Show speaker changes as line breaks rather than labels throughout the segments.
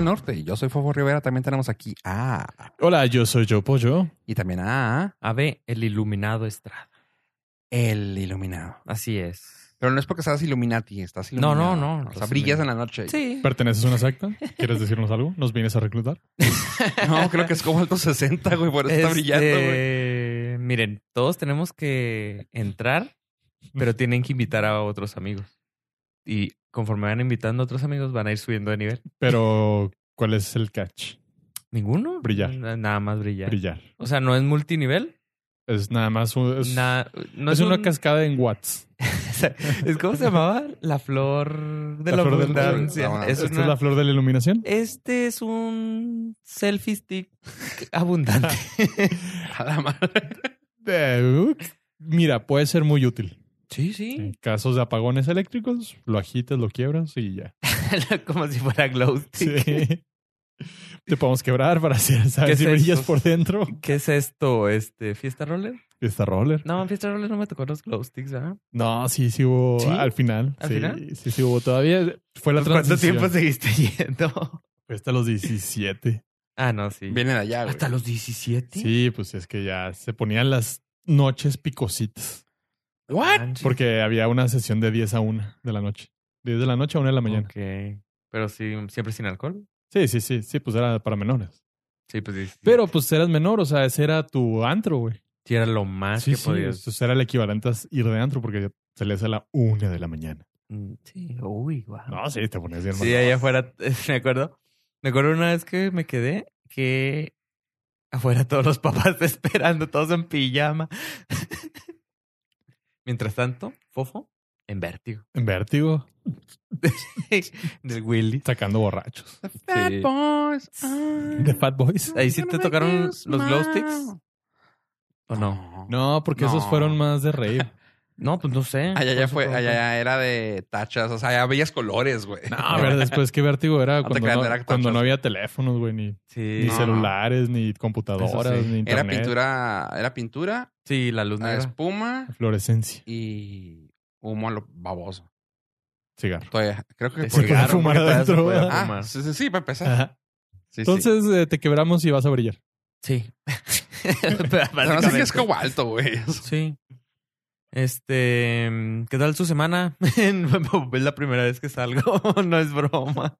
Norte. Yo soy Fofo Rivera. También tenemos aquí a.
Hola, yo soy Yo Pollo.
Y también a.
AB, el iluminado Estrada.
El iluminado.
Así es.
Pero no es porque seas Illuminati, estás
No,
iluminado.
no, no.
O sea, brillas en la noche.
Sí.
¿Perteneces a una secta? ¿Quieres decirnos algo? ¿Nos vienes a reclutar?
No, creo que es Cobalto 60, güey. Por eso está
Este,
brillando, güey.
Miren, todos tenemos que entrar, pero tienen que invitar a otros amigos. Y conforme van invitando a otros amigos, van a ir subiendo de nivel.
Pero, ¿cuál es el catch?
¿Ninguno?
Brillar.
Na- Nada más brillar.
Brillar.
O sea, no es multinivel.
Es nada más un- es,
na- no
es
es,
una
un-
cascada en watts.
es ¿Cómo se llamaba? La flor de
La
la,
flor del-
abundancia.
Ah,
Es
¿Esta
una-
es la flor de la iluminación?
Este es un selfie stick abundante.
A la madre.
Eh, uh, Mira, puede ser muy útil.
sí,
En casos de apagones eléctricos, lo agitas, lo quiebras y ya.
Como si fuera glow stick.
Sí. Te podemos quebrar para hacer, saber
¿Qué
si
es
brillas
eso?
por dentro.
¿Qué es esto? Este, ¿Fiesta Roller?
Está roller.
No, en Fiesta Roller no me tocó los glow sticks, ¿verdad?
No, sí, sí hubo
¿Sí?
al final.
¿Al
sí,
final?
sí, sí hubo todavía. Fue la
¿Cuánto
transición.
tiempo seguiste yendo?
Fue hasta los 17.
Ah, no, sí.
Viene de allá, güey.
¿Hasta los 17?
Sí, pues es que ya se ponían las noches picositas.
¿What?
Porque había una sesión de 10 a 1 de la noche. 10 de la noche a 1 de la mañana.
Ok. Pero sí, siempre sin alcohol.
Sí, sí, sí, sí, pues era para menores.
Sí, pues sí.
Pero pues eras menor, o sea, ese era tu antro, güey.
Sí, era lo más
Sí,
que
sí,
podías.
eso era el equivalente a ir de antro porque salías a la 1 de la mañana.
Mm, Sí, uy, wow.
No, sí, te ponías bien
Sí,
mamón.
allá afuera, me acuerdo. Me acuerdo una vez que me quedé que afuera todos los papás esperando, todos en pijama. Mientras tanto, Fofo en vértigo.
En vértigo,
Del Willy.
sacando borrachos.
The Fat
Sí.
Boys.
De Fat Boys.
Ahí sí te tocaron los glow sticks. ¿O no?
No, porque esos
No.
fueron más de rave.
No, pues no sé.
Allá ya fue,
Por eso
allá
creo
ya era de tachas, o sea, ya veías colores, güey.
No, a ver, después que vértigo era
Ah, te
cuando,
creas,
no,
era tachas.
cuando no había teléfonos, güey, ni,
que-
ni
No.
Sí,
celulares, ni computadoras,
Eso sí.
ni internet.
Era pintura, era pintura,
sí, la
Ah,
luz negra.
espuma
Fluorescencia.
y humo a lo baboso.
Cigarro.
Todavía, creo que
Sí,
por-
se puede
claro,
fumar
porque todavía se
adentro,
puede
¿verdad?
fumar. Ah, sí, sí, sí, para empezar.
Ajá.
Sí, sí.
Entonces eh, te quebramos y vas a brillar.
Sí.
Pero no sé qué es cobalto, güey.
Sí. Este, ¿qué tal su semana? pues, es la primera vez que salgo, no es broma.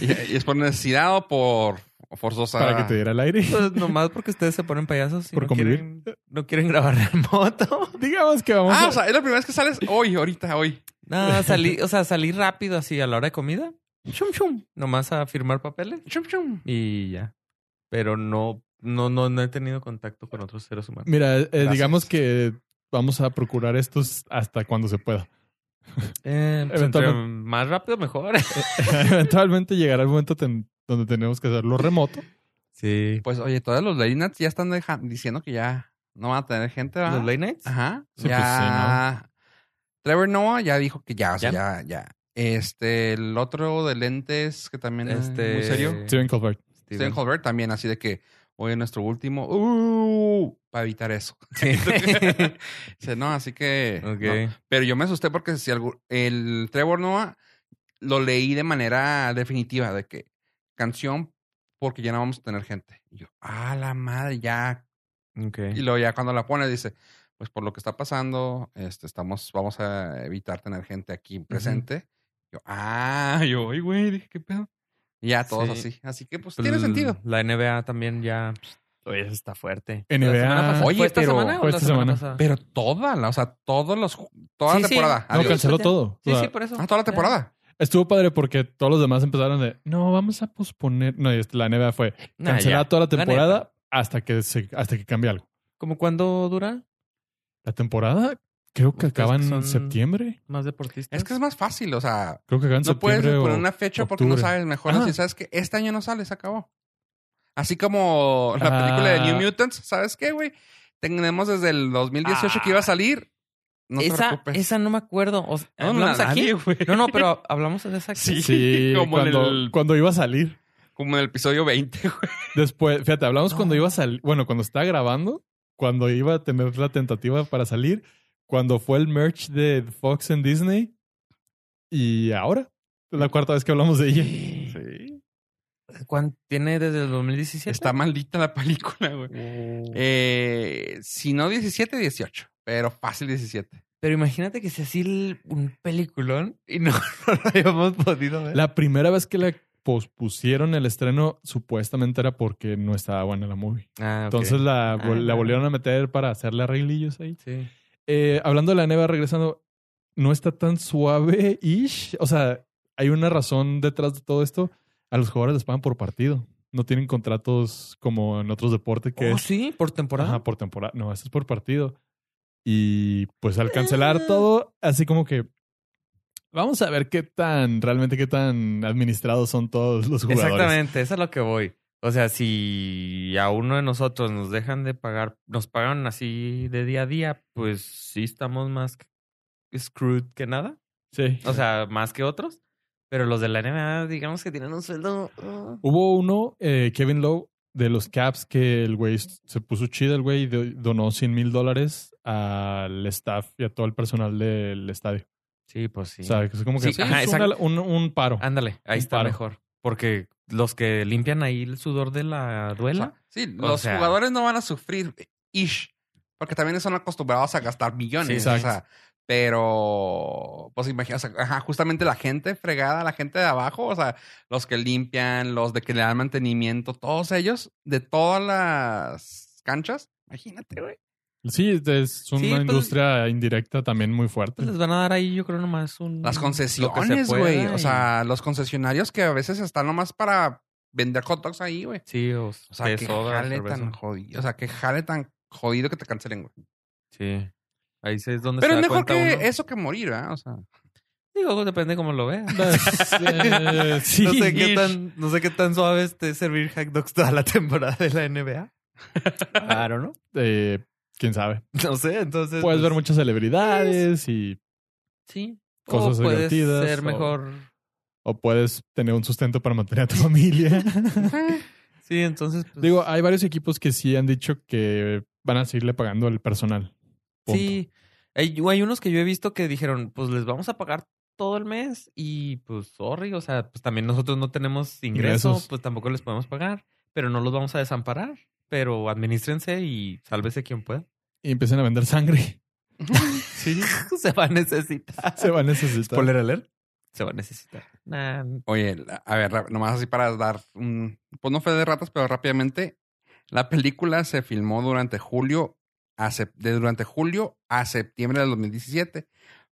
Y, y es por necesidad o por forzosa.
para que te diera el aire.
Pues nomás porque ustedes se ponen payasos y
Por
no
convivir.
quieren, no quieren grabar en moto.
Digamos que vamos
Ah,
a...
o sea, es la primera vez que sales hoy, ahorita, hoy.
No, salí, o sea, salí rápido así a la hora de comida. Chum chum, nomás a firmar papeles
Chum, chum.
y ya. Pero no no no no he tenido contacto con otros seres humanos.
Mira, eh,
Gracias.
digamos que vamos a procurar estos hasta cuando se pueda.
Eh, pues, entre
Eventualmente.
más rápido mejor.
Eventualmente llegará el momento ten- donde tenemos que hacerlo remoto.
Sí.
Pues oye, todos los late nights ya están deja- diciendo que ya no van a tener gente, ¿verdad?
Los late nights.
Ajá.
Sí, pues,
ya. Trevor Noah ya dijo que ya, o sea, ya,
¿Ya?
ya. Este, el otro de lentes que también es
Este-
muy serio.
Steven Colbert.
Steven Colbert también, así de que hoy es nuestro último. ¡Uh! para evitar eso. Dice, no, así que. no.
Ok.
Pero yo me asusté porque si algún- el Trevor Noah lo leí de manera definitiva, de que canción porque ya no vamos a tener gente. Y yo, ah, la madre, ya
Ok.
y luego ya cuando la pone dice, pues por lo que está pasando, este, estamos, vamos a evitar tener gente aquí presente. Yo, ah, yo, "Ay, güey, dije, qué pedo. Y ya todos
Sí.
así. Así que pues
Pues,
tiene sentido.
La NBA también ya. Oye, eso está fuerte.
NBA.
La semana pasada-
Oye,
¿Fue esta
pero-
semana o
fue
la
esta
semana,
semana.
pasada?
Pero toda, la, o sea, todos los ju- toda
Sí,
la
sí.
temporada.
No,
Adiós.
canceló
Ya.
todo. O
Sí,
sea,
sí, pues. por eso.
Ah, toda la
Ya.
temporada.
Estuvo padre porque todos los demás empezaron de no, vamos a posponer. No, y este- la NBA fue
Nah,
cancelada
ya.
toda la
La
temporada
neta.
hasta que se, hasta que cambie algo.
¿Cómo cuándo dura?
La temporada creo que
Ustedes
acaba en
que son-
septiembre.
Más deportistas.
Es que es más fácil, o sea,
Creo que acaba en
no puedes
septiembre.
poner
o-
una fecha porque no
octubre.
sabes mejor.
Ajá.
Si sabes que este año no sale, se acabó. Así como la
Ah.
película de New Mutants, ¿sabes qué, güey? Tenemos desde el 2018 que iba
Ah.
a salir. No te
esa,
preocupes.
esa no me acuerdo. O sea,
No, no,
¿Hablamos aquí?
nadie, güey.
No, no, pero hablamos de esa aquí.
Sí.
Sí,
Como en
cuando,
el-
cuando iba a salir.
Como en el episodio 20, güey.
Después, fíjate, hablamos
No.
cuando iba a salir. Bueno, cuando estaba grabando, cuando iba a tener la tentativa para salir, cuando fue el merch de Fox en Disney. Y ahora, es la cuarta vez que hablamos de ella.
Sí.
¿Cuán- tiene desde el 2017?
Está maldita la película, güey. Eh, si no 17, 18. Pero fácil 17.
Pero imagínate que sea así el- un peliculón y no, no lo habíamos podido ver.
La primera vez que le pospusieron el estreno, supuestamente era porque no estaba buena la movie.
Ah, ok.
Entonces la, vol-
Ah.
la volvieron a meter para hacerle arreglillos ahí.
Sí.
Eh, hablando de la neva, regresando, no está tan suave ish. O sea, hay una razón detrás de todo esto. A los jugadores les pagan por partido. No tienen contratos como en otros deportes que
Oh,
es
sí, por temporada.
Ajá, por temporada. No, esto es por partido. Y pues al cancelar
Ah.
todo, así como que vamos a ver qué tan, realmente qué tan administrados son todos los jugadores.
Exactamente, eso es a lo que voy. O sea, si a uno de nosotros nos dejan de pagar, nos pagan así de día a día, pues sí estamos más que- screwed que nada.
Sí.
O sea, más que otros. Pero los de la NBA, digamos que tienen un sueldo. ah.
Hubo uno, eh, Kevin Lowe, de los Caps, que el güey se puso chido, el güey y do- donó 100 mil dólares al staff y a todo el personal del estadio.
Sí, pues sí.
O sea, que es como que
Sí, ajá,
es
exacto.
una- un, un paro.
Ándale, ahí
Un
está
paro.
mejor. Porque los que limpian ahí el sudor de la
O
duela.
sea, sí,
O
los
sea-
jugadores no van a sufrir ish. Porque también son acostumbrados a gastar millones.
Sí,
o
exacto.
sea, pero, pues imagina, o sea, ajá, justamente la gente fregada, la gente de abajo, o sea, los que limpian, los de que le dan mantenimiento, todos ellos, de todas las canchas, imagínate, güey.
Sí, es una
Sí, pues-
industria indirecta también muy fuerte.
Pues les van a dar ahí, yo creo, nomás
Las
un. lo que se
concesiones,
pueda
güey.
y-
O sea, los concesionarios que a veces están nomás para vender hot dogs ahí, güey.
Sí, o,
O sea,
té,
que
soda,
jale
cerveza.
tan jodido. O sea, que jale tan jodido que te cancelen, güey.
Sí. Ahí sí es donde
Pero
se
es
da
mejor
cuenta
que
uno.
eso que morir, ¿verdad? O sea,
Digo, depende cómo lo
Eh,
veas.
sí.
pues, No sé, qué tan, no sé qué tan suave esté servir hack dogs toda la temporada de la NBA. Claro, ¿no?
Eh, quién sabe.
No sé, entonces.
Puedes ver
pues,
muchas celebridades y
Sí.
cosas
o puedes
divertidas,
ser
o-
mejor.
o puedes tener un sustento para mantener a tu familia.
eh.
Sí, entonces. pues,
Digo, hay varios equipos que sí han dicho que van a seguirle pagando al personal. Punto.
sí. Hay, hay unos que yo he visto que dijeron, pues les vamos a pagar todo el mes y pues, sorry, o sea, pues también nosotros no tenemos ingreso,
Ingresos.
pues tampoco les podemos pagar, pero no los vamos a desamparar. Pero administrense y sálvese quien pueda.
Y empiezan a vender sangre.
Sí, se va a necesitar.
Se va a necesitar.
alert. Se va a necesitar. Nah,
Oye, la- a ver, ra- nomás así para dar un... Pues no fue de ratas, pero rápidamente. La película se filmó durante julio a sep- de durante julio a septiembre del 2017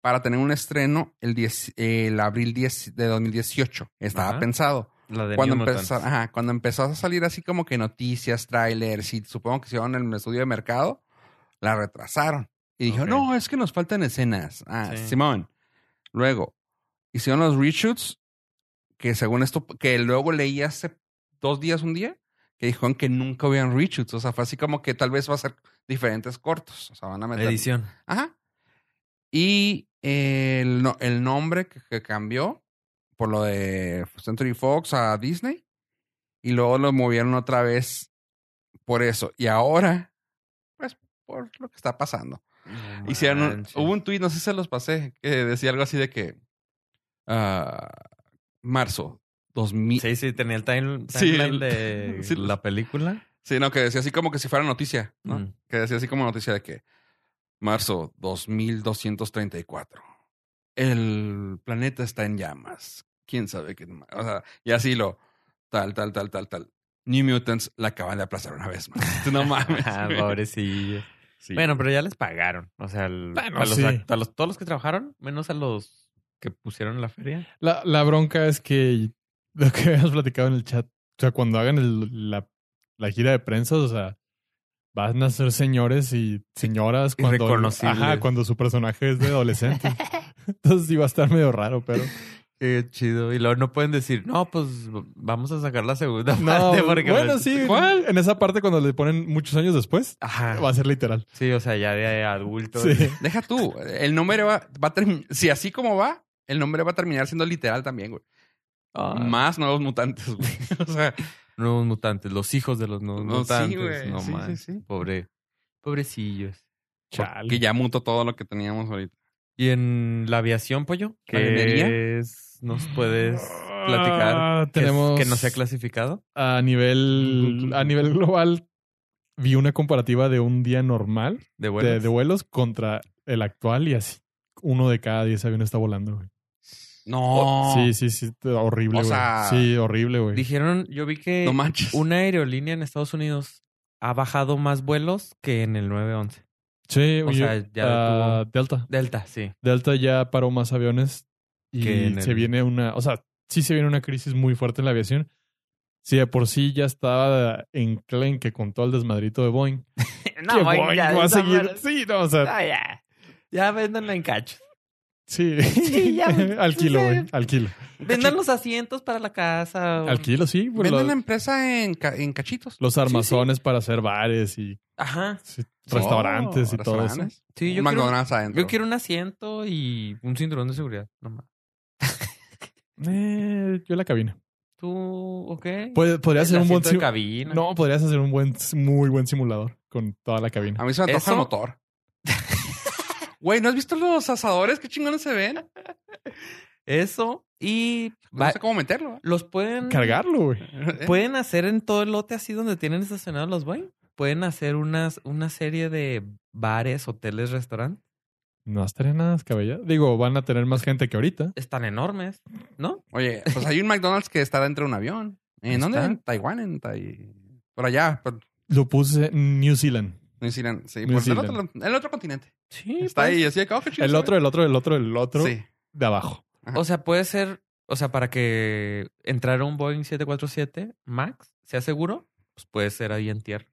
para tener un estreno el, 10, el abril 10 de 2018. Estaba
Ajá.
pensado.
la de
cuando ah,
New Mutants.
empezó, ajá, cuando empezó a salir así como que noticias, trailers, y supongo que hicieron el estudio de mercado, la retrasaron. Y dijeron,
Ok.
no, es que nos faltan escenas. Ah,
Sí.
Simón. Luego, hicieron los reshoots, que según esto, que luego leí hace dos días, un día, que dijeron que nunca hubieran reshoots. O sea, fue así como que tal vez va a ser diferentes cortos. O sea, van a meter.
Edición.
Ajá. Y el, no- el nombre que, que cambió por lo de Century Fox a Disney. Y luego lo movieron otra vez por eso. Y ahora, pues, por lo que está pasando. Hicieron un-
Manches.
hubo un tweet, no sé si se los pasé, que decía algo así de que ah, marzo 2000. Sí.
Sí, sí, tenía el time,
Sí,
timeline
el-
de
sí.
la película.
no, que decía así como que si fuera noticia, ¿no?
Mm.
que decía así como noticia de que marzo 2234. El planeta está en llamas. Quién sabe qué. ma- O sea, y así lo. Tal, tal, tal, tal, tal. New Mutants la acaban de aplazar una vez más. No mames.
Ah,
güey.
pobrecillos.
Sí.
Bueno, pero ya les pagaron. O sea, el-
Bueno,
a, los,
sí.
act- a los- todos los que trabajaron, menos a los que pusieron la feria.
La, la bronca es que lo que habíamos platicado en el chat, o sea, cuando hagan el- la, la gira de prensa, o sea, van a ser señores y señoras cuando,
Irreconocibles.
ajá, cuando su personaje es de adolescente. Entonces iba a estar medio raro, pero
Qué chido. Y luego no pueden decir, no, pues vamos a sacar la segunda
no.
parte. Porque pues,
bueno, sí.
¿Cuál?
En esa parte cuando le ponen muchos años después,
Ajá.
va a ser literal.
Sí, o sea, ya de adulto.
Sí.
Deja tú. El nombre va, va a terminar. Si así como va, el nombre va a terminar siendo literal también, güey.
Ah,
Más nuevos mutantes, güey. O sea,
Nuevos mutantes, los hijos de los nuevos
No, sí,
mutantes.
güey,
no
sí,
man.
sí, sí.
Pobre, pobrecillos.
Chale.
que ya mutó todo lo que teníamos ahorita.
Y en la aviación, pollo, que
¿Marinería?
es, nos puedes platicar
Ah,
que es-
tenemos
que no se ha clasificado?
a nivel a nivel global vi una comparativa de un día normal
De
de-
vuelo.
de, vuelos contra el actual y así uno de cada diez aviones está volando. güey.
No.
Oh,
Sí, sí, sí, t-
O
horrible, güey.
sea,
sí, horrible, güey.
Dijeron, yo vi que
No manches.
una aerolínea en Estados Unidos ha bajado más vuelos que en el 911.
Sí,
o
oye,
sea, ya
ah,
detuvo.
Delta.
Delta, sí.
Delta ya paró más aviones y
Que en
se
el-
viene una, o sea, sí se viene una crisis muy fuerte en la aviación. Si de por sí ya estaba enclenque con todo el desmadrito de Boeing. que
voy,
Boeing
ya,
va a
esa
seguir.
madre-
Sí, no, o sea,
Ah, ya. Ya véndanla en cacho.
sí.
Sí, ya, güey.
al kilo,
Sí, ya.
güey, al kilo.
Vendan los asientos para la casa. o-
Al kilo, sí. pues,
Venden
lo-
la empresa en, ca- en cachitos.
los armazones para hacer bares y
Ajá.
sí,
Oh,
restaurantes y todo eso.
Oh, restaurantes.
Sí, yo
Un
quiero,
McDonald's adentro.
yo quiero un asiento y un cinturón de seguridad. nomás.
Eh, yo la cabina.
¿Tú o qué?
Pod- podría
El
ser un buen
asiento de
simu-
cabina.
No, podrías hacer un buen, muy buen simulador con toda la cabina.
A mí se me antoja
¿Eso?
el motor. Güey, ¿no has visto los asadores? ¿Qué chingones se ven?
Eso. Y
No
va-
sé cómo meterlo.
los pueden...
Cargarlo, güey.
¿eh?
Pueden hacer en todo el lote así donde tienen estacionados los Boeing. Pueden hacer unas, una serie de bares, hoteles, restaurantes.
No estaría nada descabellado. Digo, van a tener más gente que ahorita.
Están enormes, ¿no?
Oye, pues hay un McDonald's que está dentro de un avión. ¿En
Ahí
dónde?
está.
En Taiwán, en Tai... Por allá, por
Lo puse en New Zealand.
New Zealand. Sí,
New
por el,
Zealand.
otro, el otro continente.
Sí. pues.
Está ahí, así de que, oh, qué chido
El
se
otro,
ve.
el otro, el otro, el otro
Sí.
de abajo.
O sea, puede ser, o sea, para que entrar a un Boeing 747 Max sea seguro, pues puede ser ahí en tierra.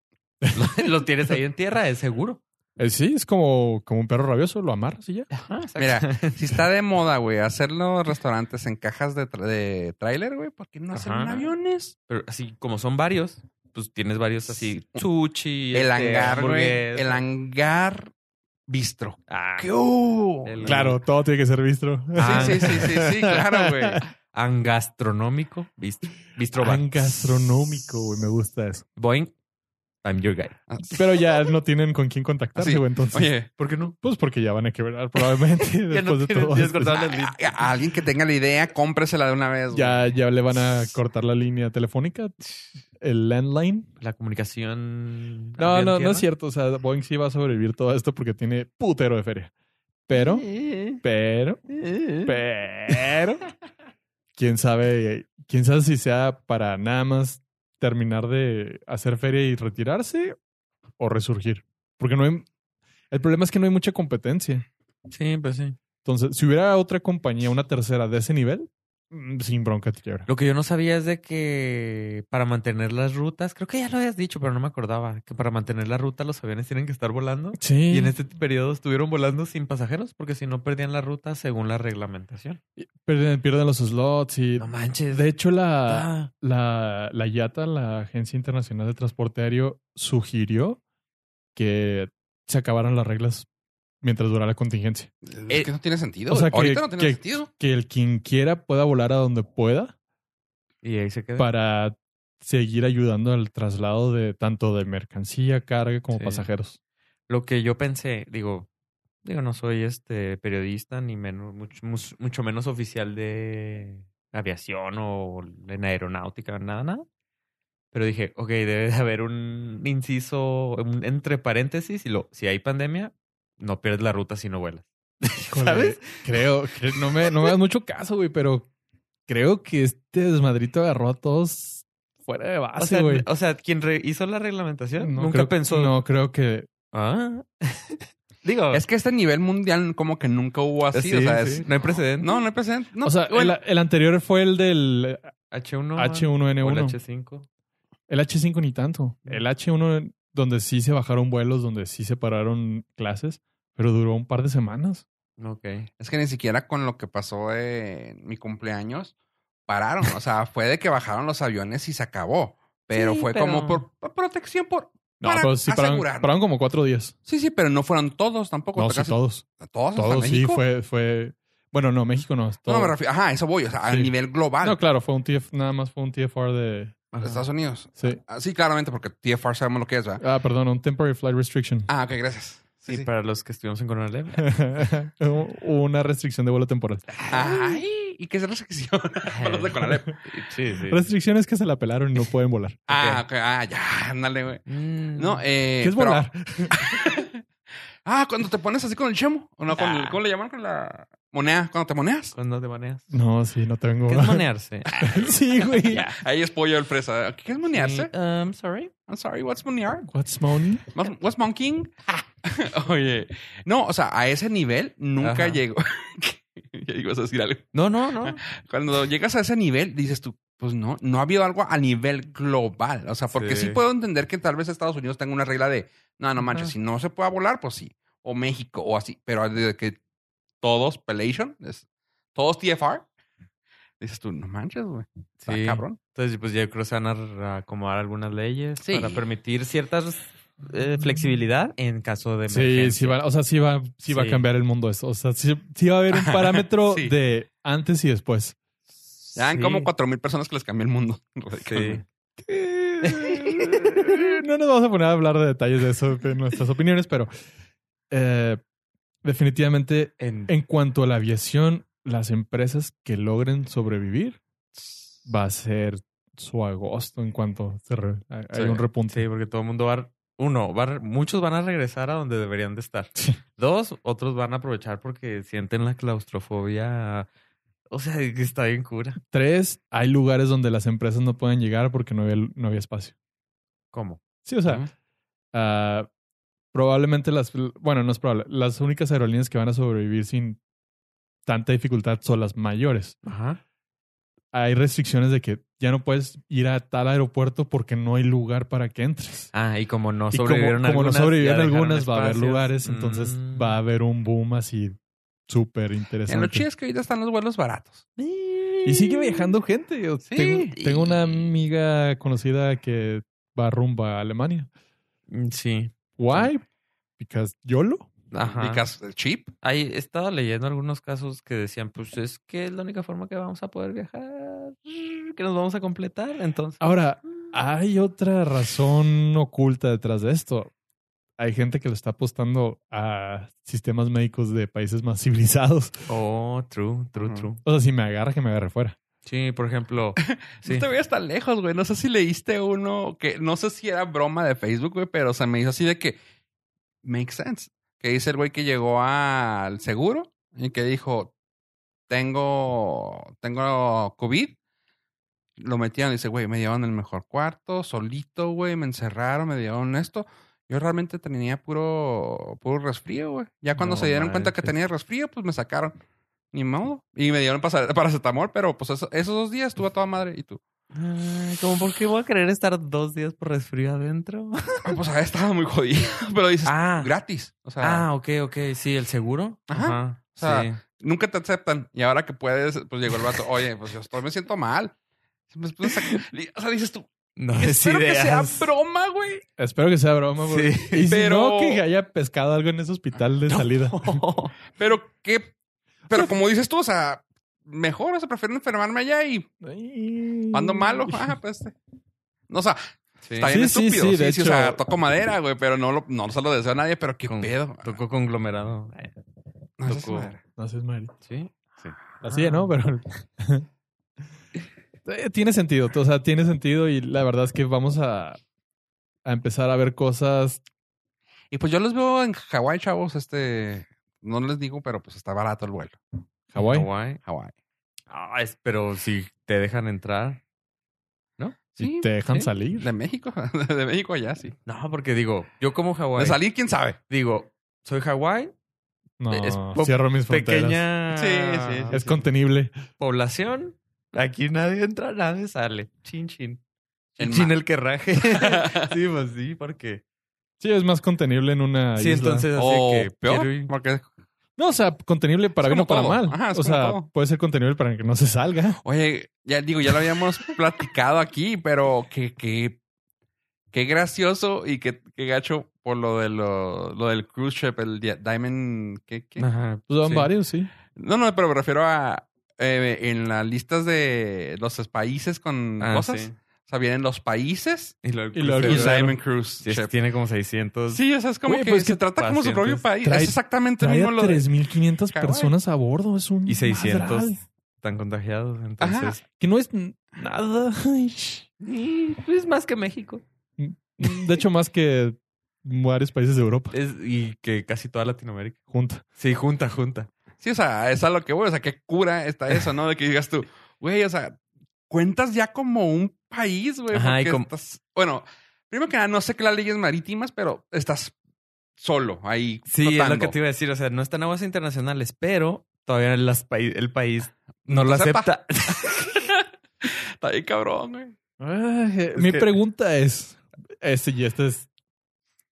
Lo, lo tienes ahí en tierra, es seguro.
Eh, sí, es como, como un perro rabioso, lo amarras y ya.
Ajá, exacto.
Mira, si está de moda, güey, hacer los restaurantes en cajas de, tra- de tráiler, güey, ¿por qué no hacerlo en
Ajá.
aviones?
Pero así como son varios, pues tienes varios así. Sushi,
el
este,
hangar, güey.
hamburguesas.
El hangar bistro.
Ah,
¿Qué hubo?
el
Claro, todo tiene que ser bistro.
Ah.
Sí, sí, sí, sí, sí, claro, güey.
Angastronómico, bistro, bistro bar.
Pan gastronómico, güey, me gusta eso.
Boeing, I'm your guy.
Pero ya no tienen con quién contactarse,
Sí.
güey, entonces.
Oye,
¿Por qué no?
Pues porque ya van a quebrar probablemente después
no
de
tienen
todo.
días cortados.
a, a- a alguien que tenga la idea, cómpresela de una vez. güey.
Ya, ya le van a cortar la línea telefónica, el landline.
La comunicación.
No, no, no es
cierto.
cierto. O sea, Boeing sí va a sobrevivir todo esto porque tiene putero de feria. Pero, pero, pero, quién sabe, quién sabe si sea para nada más terminar de hacer feria y retirarse o resurgir. Porque no hay, el problema es que no hay mucha competencia.
Sí, pues sí.
Entonces, si hubiera otra compañía, una tercera de ese nivel, mm, sin bronca te quiebra.
Lo que yo no sabía es de que para mantener las rutas, creo que ya lo habías dicho, pero no me acordaba, que para mantener la ruta los aviones tienen que estar volando.
Sí.
Y en este periodo estuvieron volando sin pasajeros porque si no perdían la ruta según la reglamentación.
Pierden, pierden los slots y...
No manches.
De hecho, la,
Ah,
La, la IATA, la Agencia Internacional de Transporte Aéreo, sugirió que se acabaran las reglas mientras durara la contingencia.
Es que no tiene sentido.
Eh, o sea,
güey.
que-
Ahorita no tiene
que-
sentido.
Que el quien quiera pueda volar a donde pueda
y ahí se quedó.
para seguir ayudando al traslado de tanto de mercancía, carga como
Sí.
pasajeros.
Lo que yo pensé, digo, digo, no soy este periodista ni menos, mucho, mus- mucho menos oficial de aviación o en aeronáutica, nada, nada. Pero dije, ok, debe de haber un inciso un- entre paréntesis y lo, si hay pandemia, no pierdes la ruta si no vuelas. ¿Sabes?
Creo, creo- no me, no me das mucho caso, güey, pero creo que este desmadrito agarró a todos fuera de
O
base,
sea,
güey.
o sea, quien re- hizo la reglamentación
No
nunca
creo-
pensó.
No, creo que
Ah. digo,
Es que este nivel mundial como que nunca hubo así.
sí,
o sea,
sí,
es-
no hay precedente.
No, no hay precedente. No,
o sea,
bueno,
el, el anterior fue el del
H1, o el
H1N1.
H5.
El H5 ni tanto. El H1 donde sí se bajaron vuelos, donde sí se pararon clases, pero duró un par de semanas.
Ok.
es que ni siquiera con lo que pasó en mi cumpleaños pararon. O sea, fue de que bajaron los aviones y se acabó. Pero
Sí,
fue
pero-
como por, por protección. por
No,
Para
pero sí pararon,
asegurarnos.
pararon como cuatro días.
Sí, sí, pero no fueron todos tampoco.
No,
hasta
sí,
casi-
todos.
todos. hasta
Todos sí
México.
fue, fue. Bueno, no, México no. todo.
No, me refiero. Ajá, eso voy. O sea, a
Sí.
nivel global.
No, claro, fue un TF, nada más fue un TFR de.
de Estados Unidos.
Sí.
Ah, Sí, claramente, porque TFR sabemos lo que es, ¿verdad?
Ah, perdón, un temporary flight restriction.
Ah, ok, gracias. Sí,
Sí,
sí.
para los que estuvimos en Coronel
Una restricción de vuelo temporal.
Ay, y que se restricción para los de Conalep.
Sí, sí.
Restricciones que se la pelaron y no pueden volar.
Ah, ok, ah, ya, ándale, güey. No,
No,
eh.
¿Qué es
pero-
volar?
Ah, cuando te pones así con el chemo. O no, con el-
Ah.
¿Cómo le llaman? Con la moneda. Cuando te moneas.
cuando te baneas.
No, sí, no tengo.
¿Qué es monearse?
sí, güey.
Ya.
Ahí es pollo el fresa. ¿Qué es monearse?
Mm, um, sorry.
I'm sorry, what's monear?
What's money?
What's- What's monking? Oye. No, o sea, a ese nivel nunca
Ajá.
llego. ya ibas a decir algo.
No, no, no.
Cuando llegas a ese nivel, dices tú, pues no, no ha habido algo a nivel global. O sea, porque sí,
Sí.
puedo entender que tal vez Estados Unidos tenga una regla de, no, no manches,
Ajá.
si no se pueda volar, pues sí. O México, o así. Pero de que todos, Pelation, es- todos TFR, dices tú, no manches, güey. Está
Sí.
cabrón.
Entonces, pues yo creo que se van a r- a acomodar algunas leyes
Sí.
para permitir ciertas eh, flexibilidad en caso de
Sí,
emergencia.
sí va, o sea, sí va, sí va a
Sí.
cambiar el mundo eso. O sea, sí, sí va a haber un parámetro
Sí.
de antes y después.
Ya han
Sí.
como cuatro mil personas que les cambió el mundo.
Sí.
no nos vamos a poner a hablar de detalles de eso, de nuestras opiniones, pero eh, definitivamente
En-
en cuanto a la aviación, las empresas que logren sobrevivir va a ser su agosto en cuanto se re- hay
Sí.
un repunte.
Sí, porque todo el mundo va. a- Uno, va a- muchos van a regresar a donde deberían de estar. Dos, otros van a aprovechar porque sienten la claustrofobia. O sea, que está bien cura.
Tres, hay lugares donde las empresas no pueden llegar porque no había, no había espacio.
¿Cómo?
Sí, o sea, ah, probablemente las, bueno, no es probable, las únicas aerolíneas que van a sobrevivir sin tanta dificultad son las mayores.
Ajá.
Hay restricciones de que ya no puedes ir a tal aeropuerto porque no hay lugar para que entres.
Ah, y como no
y como,
sobrevivieron
como no
algunas,
sobrevivieron
ya dejaron
algunas, va a haber
espacios.
lugares, entonces
Mm.
va a haber un boom así súper
En lo chido
interesante.
es que ahorita están los vuelos baratos.
Y sigue viajando gente. Yo
Sí.
tengo, tengo una amiga conocida que va rumbo a Alemania.
Mm, Sí.
Why? Because YOLO.
Ajá.
Because cheap.
Ahí he estado leyendo algunos casos que decían, pues es que es la única forma que vamos a poder viajar, que nos vamos a completar, entonces.
Ahora,
Ah.
hay otra razón oculta detrás de esto. Hay gente que lo está apostando a sistemas médicos de países más civilizados.
Oh, true, true,
Ajá.
true.
O sea, si me agarra, que me agarre fuera.
Sí, por ejemplo, sí.
No te veas tan lejos, güey. No sé si leíste uno que no sé si era broma de Facebook, güey, pero se me hizo así de que makes sense. Que dice el güey que llegó al seguro y que dijo, tengo, tengo COVID. Lo metieron y dice, güey, me llevaron el mejor cuarto, solito, güey, me encerraron, me dieron esto. Yo realmente tenía puro, puro resfrío, güey. Ya cuando
No
se dieron cuenta que
manches.
tenía resfrío, pues me sacaron. Ni modo. Y me dieron pasa- paracetamol, pero pues eso- esos dos días estuve a toda madre. ¿Y tú?
Ay, como por qué voy a querer estar dos días por resfrío adentro.
Ah, Pues había estado muy jodido. Pero dices,
Ah,
gratis. O sea,
ah, ok, ok, sí, el seguro.
Ajá.
Ajá.
O sea,
sí.
nunca te aceptan. Y ahora que puedes, pues llegó el vato. Oye, pues yo estoy, me siento mal. Pues, pues, sac- o sea, dices tú,
No
espero que sea broma, güey.
Espero que sea broma. porque-
Sí.
Y si
Pero-
no, que haya pescado algo en ese hospital de salida.
Pero qué. Pero como dices tú, o sea, mejor, o sea, prefiero enfermarme allá y ando malo. Ah, pues. este. No, o sea, está bien
Mm. Sí, sí,
estúpido. Sí,
sí, de
sí, o sea,
hecho.
toco madera, güey, pero no, lo, no se lo deseo a nadie, pero qué
Con-
pedo.
Tocó conglomerado. Ay,
No, esa es
tocó.
madre.
No seas mal.
Sí.
Así,
Ah,
¿no? Pero. Eh, tiene sentido, o sea, tiene sentido y la verdad es que vamos a, a empezar a ver cosas.
Y pues yo los veo en Hawái, chavos, este. No les digo, pero pues está barato el vuelo.
Hawái.
Hawái.
Hawái.
Ah, es- pero si te dejan entrar.
y te dejan
sí.
salir.
De México, de México allá, sí.
No, porque digo, yo como
De
Hawái.
salir, quién sabe.
Digo, soy Hawái,
No,
Es po-
cierro mis fronteras.
pequeña
Sí, sí, sí.
Es contenible.
población. Aquí nadie entra, nadie sale. Chin, chin.
En
Chin, chin
mar.
el que raje. sí, pues sí, porque.
Sí, es más contenible en una
Sí,
isla.
entonces así
o
que
peor,
quiero ir-
porque,
No, o sea, contenible para
Es
bien o
como
para
todo.
mal.
Ajá, es
o
como
sea,
todo.
puede ser contenible para que no se salga.
oye, ya digo, ya lo habíamos platicado aquí, pero que, que, qué gracioso y que, que gacho por lo de lo, lo del cruise ship, el di- Diamond, ¿qué, qué?
Ajá,
Pues van
sí.
varios, sí.
No, no, pero me refiero a eh, en las listas de los países con
Ah,
cosas.
sí.
O sea, vienen los países
Y luego,
Y luego
y el
Pero- crucero.
Diamond Cruise
Sí, es que
Ship.
tiene como 600.
Sí, o sea, es como
Oye,
que
pues,
se
que
trata como su propio
pacientes.
país.
Trae-
es exactamente el
Trae a
mismo lo de-
3.500
Hawái.
personas a bordo. Es un
Y 600
madral.
tan contagiados. Entonces,
Que no es n- nada.
y, pues más que México.
De hecho, más que varios países de Europa.
Es, y que casi toda Latinoamérica.
Junta.
Sí, junta, junta.
Sí, o sea, es a lo que voy. O sea, qué cura está eso, ¿no? De que digas tú, güey, o sea, cuentas ya como un país, güey.
Ajá, y
porque
como-
estás- Bueno, primero que nada, no sé qué las leyes marítimas, pero estás solo ahí.
Sí, es lo
flotando.
que te iba a decir. O sea, no están aguas internacionales, pero todavía las pai- el país no lo
Sepa.
acepta.
Está bien cabrón, güey.
Mi
pregunta
pregunta es: este, y este es.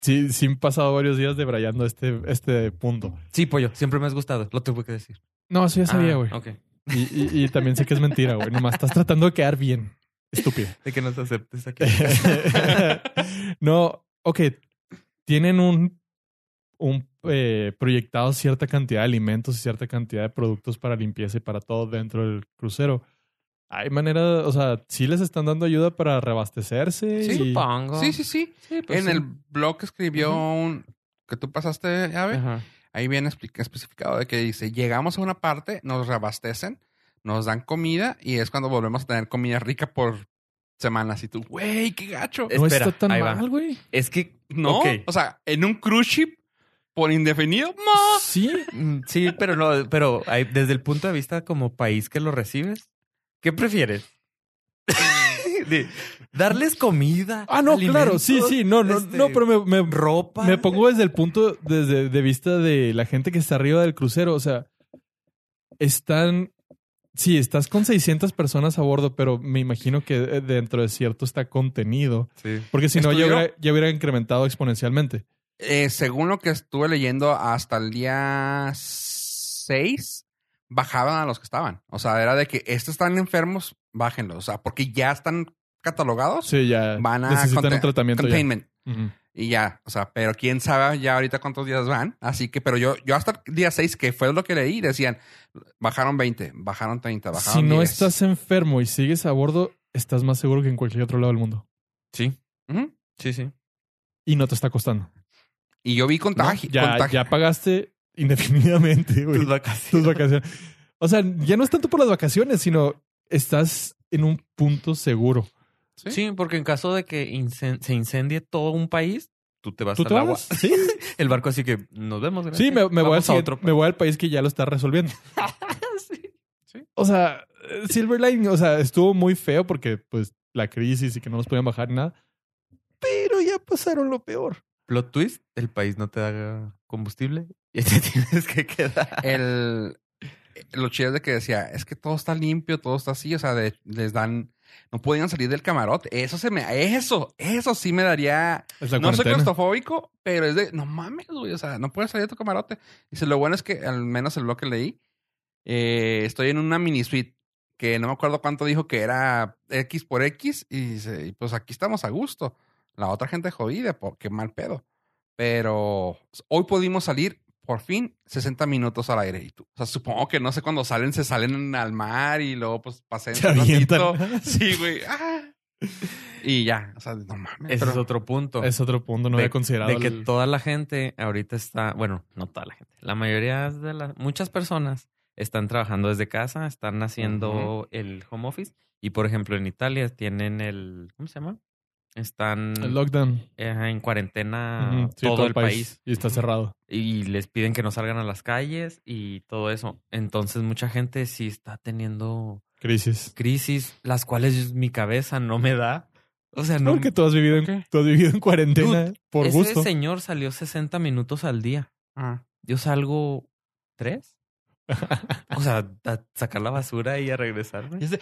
Sí, sí, han pasado varios días debrayando este, este punto.
Sí, pollo, siempre me has gustado. Lo tuve que decir.
No, eso ya sabía,
Ah,
güey.
ok.
y, y- y también sé que es mentira, güey. Nomás estás tratando de quedar bien. Estúpido.
De que nos aceptes aquí.
no, ok. Tienen un, un eh, proyectado cierta cantidad de alimentos y cierta cantidad de productos para limpieza y para todo dentro del crucero. Hay manera, o sea, sí les están dando ayuda para reabastecerse.
Sí,
y-
Supongo.
Sí, sí, sí.
pues
en el blog que escribió un que tú pasaste, Ave, ahí viene expli- especificado de que dice, llegamos a una parte, nos reabastecen, nos dan comida y es cuando volvemos a tener comida rica por semanas. Y tú, güey, qué gacho.
Es-
No
Espera,
está tan
ahí va.
mal, güey.
Es que.
No,
Ok.
o sea, en un cruise ship por indefinido. No.
Sí.
Mm, Sí, pero no, pero hay- desde el punto de vista como país que lo recibes, ¿qué prefieres? De- Darles comida.
Ah, no, claro.
alimentos,
Sí, sí. No, no,
este,
no, pero me, me,
ropa.
Me pongo desde el punto desde, de vista de la gente que está arriba del crucero. O sea, están. Sí, estás con 600 personas a bordo, pero me imagino que eh, dentro de cierto está contenido.
Sí.
Porque si no, ya
¿Estudio?
hubiera, ya hubiera incrementado exponencialmente.
Eh, según lo que estuve leyendo hasta el día 6, bajaban a los que estaban. O sea, era de que estos están enfermos, bájenlos. O sea, porque ya están catalogados.
Sí, ya
Van a
necesitan
conte-
un tratamiento. ya.
Containment.
Ujú.
Y ya, o sea, pero quién sabe ya ahorita cuántos días van. Así que, pero yo, yo hasta el día 6, que fue lo que leí, decían, bajaron 20, bajaron 30, bajaron
Si no
10.
estás enfermo y sigues a bordo, estás más seguro que en cualquier otro lado del mundo.
Sí,
Ujú.
sí, sí.
Y no te está costando.
Y yo vi contagio.
Ya,
contagio.
ya pagaste indefinidamente, güey.
Tus vacaciones.
tus vacaciones. O sea, ya no es tanto por las vacaciones, sino estás en un punto seguro.
¿Sí?
Sí, porque en caso de que incen- se incendie todo un país, tú te vas
¿Tú
al
te
agua.
vas? Sí,
El barco así que nos vemos. gracias.
sí me, me voy al
Vamos a
siguiente-
otro.
me voy al país que ya lo está resolviendo. O sea, eh, Silver Line, o sea, estuvo muy feo porque pues la crisis y que no nos podían bajar nada. Pero ya pasaron lo peor.
Plot twist, el país no te da combustible y te tienes que quedar.
el eh, lo chido es de que decía, es que todo está limpio, todo está así, o sea, de- les dan no podían salir del camarote. Eso se me eso, eso sí me daría
Es la
no soy
cuarentena.
claustrofóbico, pero es de no mames, güey, o sea, no puedes salir de tu camarote. Dice, lo bueno es que al menos el blog que leí eh, estoy en una mini suite que no me acuerdo cuánto dijo que era X por X y dice, "Y pues aquí estamos a gusto. La otra gente jodida, porque mal pedo. Pero hoy pudimos salir por fin 60 minutos al aire. Y tú, o sea, supongo que no sé cuándo salen, se salen al mar y luego pues pasen
Se
un
avientan.
ratito. Sí, güey. Ah. Y ya, o sea, no mames.
Ese
pero-
es otro punto.
Es otro punto, no
De-
había considerado.
de que
el-
toda la gente ahorita está, bueno, no toda la gente, la mayoría de las, muchas personas están trabajando desde casa, están haciendo el home office y por ejemplo en Italia tienen el, ¿cómo se llama? Están
el lockdown.
eh, en cuarentena
Ujú, sí,
todo, el país.
Y está
Ujú.
cerrado.
y les piden que no salgan a las calles y todo eso. Entonces mucha gente sí está teniendo
Crisis.
crisis, las cuales mi cabeza no me da. O sea, no.
Porque tú has vivido en, tú has vivido en cuarentena por
ese
gusto.
señor salió 60 minutos al día.
Ah.
Yo salgo tres. O sea, a sacar la basura y a regresarme.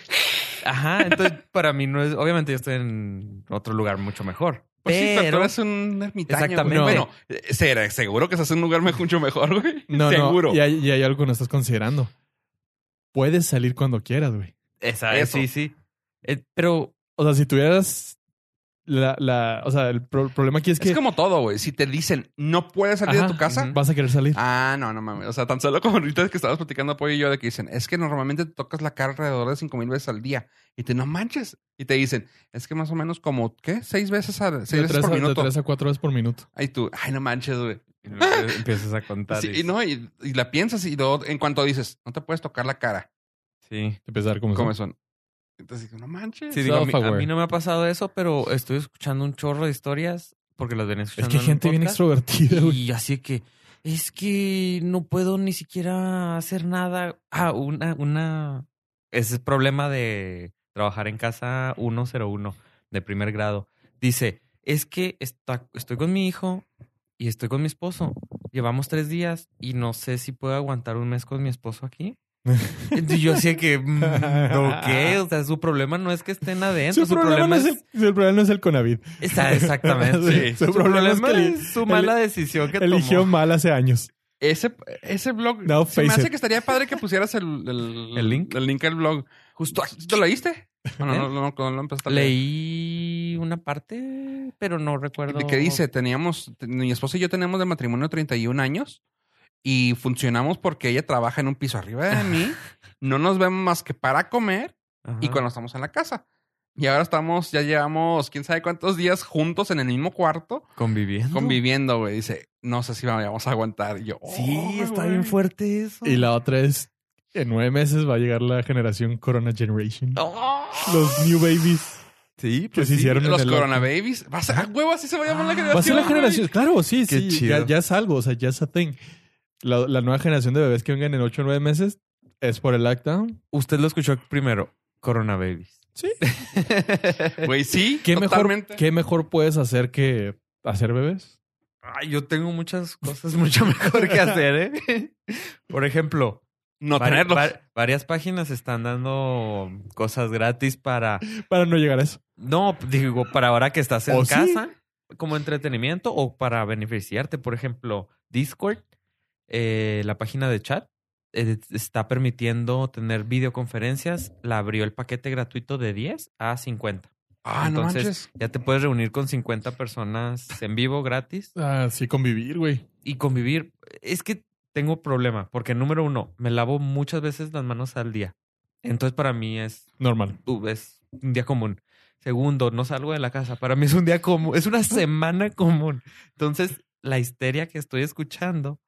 Ajá, entonces para mí no es. Obviamente yo estoy en otro lugar mucho mejor.
Pues sí, pero
pero
tú eres un ermitaño.
Exactamente.
güey. Bueno, eh, será- seguro que se hace un lugar me- mucho mejor, güey.
No,
seguro.
no. Y hay, y hay algo que no estás considerando. Puedes salir cuando quieras, güey.
Esa-
Eso.
sí, sí. Eh, pero
O sea, si tuvieras la, la o sea, el, pro- el problema aquí es
es
que
como todo, güey. Si te dicen no puedes salir
Ajá,
de tu casa,
ujú.
vas a querer salir.
ah, no, no mames. O sea, tan solo como ahorita que estábamos platicando Pollo y yo de que dicen, es que normalmente te tocas la cara alrededor de cinco mil veces al día. Y te no manches. Y te dicen, es que más o menos como, ¿qué? Seis veces, al- seis
de,
veces
tres
por
a, de
minuto.
tres a cuatro veces por minuto.
Ay, tú, ay, no manches, güey.
empiezas a contar.
Sí,
y-
y no, y, y la piensas y luego, en cuanto dices, no te puedes tocar la cara.
Sí.
Empezar como
¿Cómo son? Entonces dije, no manches.
Sí, digo, a mí, a
Self-aware.
mí no me ha pasado eso, pero estoy escuchando un chorro de historias porque las venía
Es
escuchando.
que hay
en un
gente bien
podcast,
extrovertida, güey.
Y así que es que no puedo ni siquiera hacer nada. Ah, una, una. Ese es el problema de trabajar en casa 101 de primer grado. Dice: Es que está, estoy con mi hijo y estoy con mi esposo. Llevamos tres días y no sé si puedo aguantar un mes con mi esposo aquí. Entonces yo sé que, mm, ¿o qué? O sea, su problema no es que estén adentro,
Su problema, no es el, su problema no es el Conavit.
Está exactamente.
Sí, su problema es que el-
su mala decisión que
Eligió
tomó.
mal hace años.
Ese, ese blog.
No,
se me hace
face it.
que estaría padre que pusieras el, el,
¿El link?
El link al blog.
Justo
¿Tú,
aquí.
¿Tú lo leíste? No, no,
¿Eh?
no, no, no lo empezaste a leer.
Leí una parte, pero no recuerdo.
¿De qué dice? Teníamos, te- mi esposa y yo tenemos de matrimonio 31 años y funcionamos porque ella trabaja en un piso arriba de mí. No nos vemos más que para comer
Ajá.
y cuando estamos en la casa. Y ahora estamos, ya llevamos quién sabe cuántos días juntos en el mismo cuarto
conviviendo.
conviviendo, güey. Dice, no sé si vamos a aguantar. Y yo,
Sí,
"Oh,
está
güey".
bien fuerte eso.
Y la otra es, en nueve meses va a llegar la generación Corona Generation.
¡Oh!
Los New Babies
Sí,
pues
que se hicieron en
Los
el-
coronababies. Va a ser, ah, huevo, así se va a llamar la generación.
Va a ser la
güey.
generación, claro, sí,
Qué
sí,
chido.
Ya, ya es algo, o sea, ya es a thing. La, la nueva generación de bebés que vengan en ocho o nueve meses es por el lockdown.
Usted lo escuchó primero. Corona Babies.
Sí.
Güey, sí.
¿Qué mejor,
totalmente.
¿Qué mejor puedes hacer que hacer bebés?
Ay, yo tengo muchas cosas mucho mejor que hacer, ¿eh? Por ejemplo,
No
Vari-
tenerlos.
va- varias páginas están dando cosas gratis para.
Para no llegar a eso.
No, digo, para ahora que estás en
¿O sí?
casa, como entretenimiento o para beneficiarte. Por ejemplo, Discord, eh, la página de chat, eh, está permitiendo tener videoconferencias. La abrió el paquete gratuito de 10 a 50.
ah, no
entonces-
manches.
Ya te puedes reunir con 50 personas en vivo gratis
Ah, sí, convivir, güey.
y convivir. Es que tengo problema, porque número uno, me lavo muchas veces las manos al día. Entonces, para mí es
Normal.
tú, es un día común. Segundo, no salgo de la casa. Para mí es un día común, es una semana común. Entonces, la histeria que estoy escuchando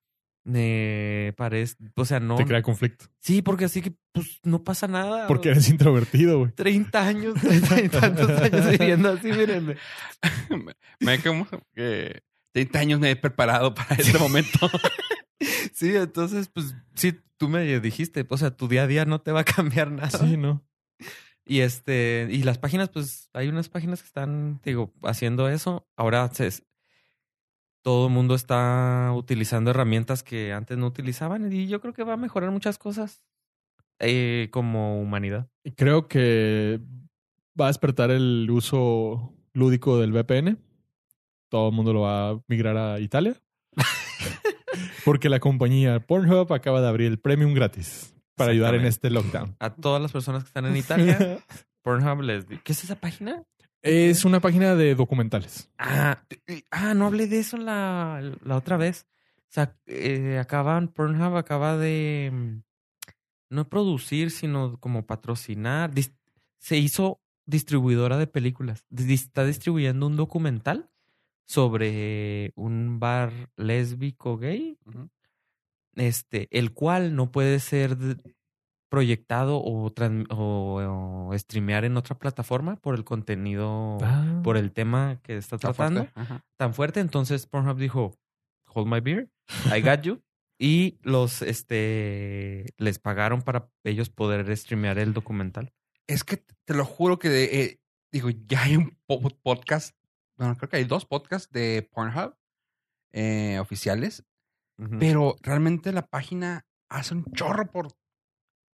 me parece, o sea, no.
Te crea conflicto.
Sí, porque así que pues no pasa nada.
Porque eres introvertido, güey.
30 años, 30 y tantos años viviendo así, mírenme.
Me como que 30 años me he preparado para este momento.
Sí, entonces, pues sí, tú me dijiste, o sea, tu día a día no te va a cambiar nada.
Sí, ¿no?
Y este, y las páginas, pues hay unas páginas que están, digo, haciendo eso. Ahora se, es- todo el mundo está utilizando herramientas que antes no utilizaban y yo creo que va a mejorar muchas cosas eh, como humanidad.
Creo que va a despertar el uso lúdico del VPN. Todo el mundo lo va a migrar a Italia. Porque la compañía Pornhub acaba de abrir el premium gratis para ayudar en este lockdown.
A todas las personas que están en Italia, Pornhub les di- ¿Qué es esa página?
es una página de documentales.
Ah, eh, ah, no hablé de eso la, la otra vez. O sea, eh, acaban, Pornhub acaba de mm, no producir, sino como patrocinar. Dis- se hizo distribuidora de películas. Dis- está distribuyendo un documental sobre un bar lésbico gay,
Ujú.
este, el cual no puede ser de- proyectado o, tran- o- o streamear en otra plataforma por el contenido,
Ah.
por el tema que está
Está
tratando
fuerte. Ajá.
tan fuerte. Entonces Pornhub dijo, hold my beer, I got you. Y los, este, les pagaron para ellos poder streamear el documental.
Es que te lo juro que, eh, digo, ya hay un po- podcast, bueno, creo que hay dos podcasts de Pornhub eh, oficiales, pero realmente la página hace un chorro por,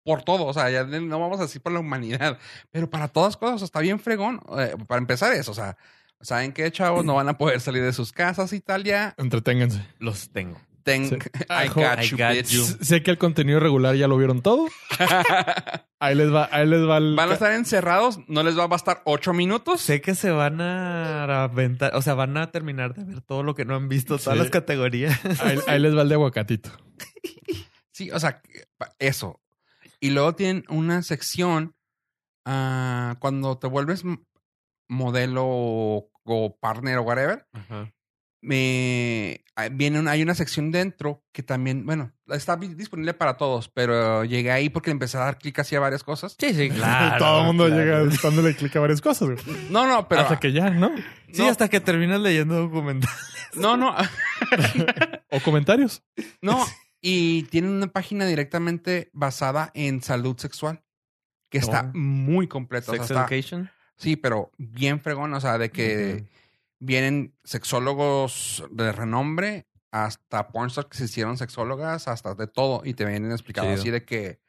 por todo, o sea, ya de- no vamos a decir por la humanidad, pero para todas cosas, o sea, está bien fregón, eh, para empezar eso, o sea, ¿saben qué, chavos? No van a poder salir de sus casas, Italia,
Entreténganse.
Los tengo.
Ten-
Sí.
I
Ajo,
got
I
you,
got
bitch.
you.
S- Sé que el contenido regular ya lo vieron todo. Ahí les va, ahí les va el-
Van a estar encerrados, no les va a bastar ocho minutos.
Sé que se van a aventar, o sea, van a terminar de ver todo lo que no han visto, todas
Sí.
las categorías.
ahí, ahí les va el de aguacatito.
Sí, o sea, que- pa- eso. Y luego tienen una sección ah, cuando te vuelves m- modelo o, o partner o whatever, me ah, viene una- hay una sección dentro que también, bueno, está vi- disponible para todos, pero llegué ahí porque le empecé a dar clic hacia varias cosas.
Sí, sí, claro.
Todo el mundo
claro.
llega dándole clic a varias cosas, güey.
No, no, pero
Hasta que ya, ¿no?
Sí,
no,
hasta que terminas leyendo documentales.
no, no,
O comentarios.
no, y tiene una página directamente basada en salud sexual que está
No.
muy completa, o sea,
Oh. Sex
está-
Education.
sí, pero bien fregón, o sea, de que
Ujú.
vienen sexólogos de renombre hasta pornstars que se hicieron sexólogas, hasta de todo, y te vienen explicando
Chido.
así de que,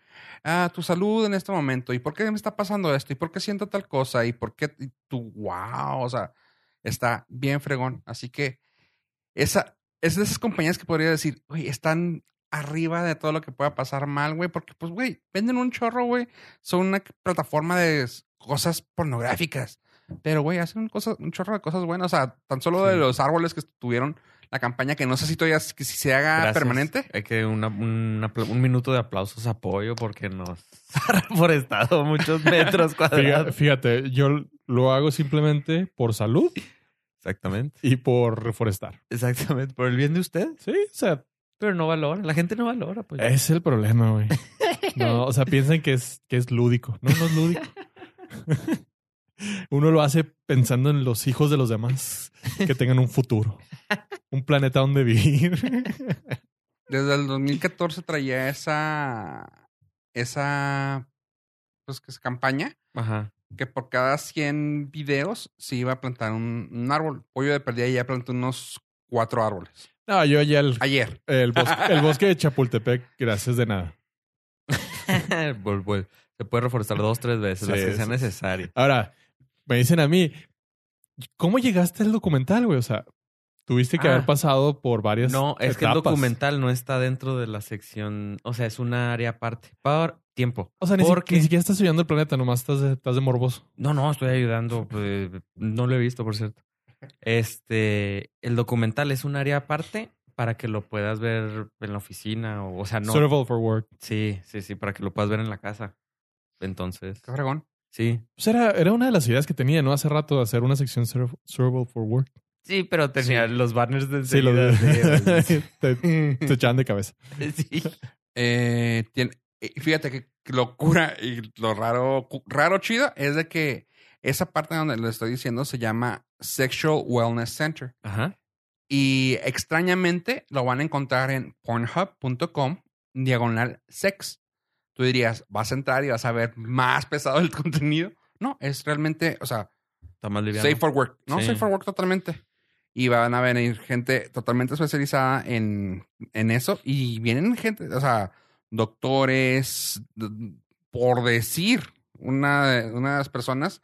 ah, tu salud en este momento, y por qué me está pasando esto, y por qué siento tal cosa, y por qué y tú, wow, o sea, está bien fregón. Así que esa, es de esas compañías que podría decir, güey, están arriba de todo lo que pueda pasar mal, güey, porque pues, güey, venden un chorro, güey, son una plataforma de s- cosas pornográficas. Pero, güey, hacen cosas, un chorro de cosas buenas. O sea, tan solo de
Sí.
los árboles que tuvieron la campaña, que no sé si todavía s- que si se haga
Gracias.
permanente.
Hay que una- un apla- un minuto de aplausos apoyo porque nos ha reforestado muchos metros
Fíjate,
cuadrados.
fíjate, yo lo hago simplemente por salud
Exactamente.
y por reforestar.
Exactamente. Por el bien de usted.
Sí, o sea,
Pero no valora. La gente no valora, pues.
es el problema, güey. No, o sea, piensan que es, que es lúdico. No, no es lúdico. Uno lo hace pensando en los hijos de los demás que tengan un futuro, un planeta donde vivir.
Desde el 2014 traía esa, esa, pues, que es campaña,
Ajá.
que por cada 100 videos se iba a plantar un, un árbol. Pollo de perdida ya plantó unos cuatro árboles.
No, yo ya el,
Ayer.
el bosque, el bosque de Chapultepec, gracias de nada.
Vol- vol- Se puede reforestar dos, tres veces,
Sí,
las que
sí,
sea
sí.
necesario.
Ahora, me dicen a mí, ¿cómo llegaste al documental, güey? O sea, tuviste que
Ah.
haber pasado por varias.
No, es que el
etapas.
documental no está dentro de la sección. O sea, es una área aparte. Por tiempo.
O sea, ni, si-
Porque-
ni siquiera estás estudiando el planeta, nomás estás de, estás de morboso.
No, no, estoy ayudando. pues, no lo he visto, por cierto. Este, el documental es un área aparte para que lo puedas ver en la oficina. O, o sea, no.
Survival for Work.
Sí, sí, sí, para que lo puedas ver en la casa. Entonces,
Qué fregón.
sí.
Pues era, era una de las ideas que tenía, ¿no? Hace rato de hacer una sección Surv- Survival for Work.
Sí, pero tenía los banners de
Sí, lo
enseguida, sí,
te, te echaban de cabeza.
sí.
Eh, tiene- eh, fíjate que que locura y lo raro, cu- raro chido es de que esa parte donde lo estoy diciendo se llama Sexual Wellness Center.
Ajá.
Y extrañamente lo van a encontrar en pornhub.com diagonal sex. Tú dirías, vas a entrar y vas a ver más pesado el contenido. No, es realmente, o sea,
Está más liviano.
safe for work, ¿no?
Sí.
Safe for work totalmente. Y van a venir gente totalmente especializada en, en eso. Y vienen gente, o sea, doctores, d- por decir, una de, una de las personas,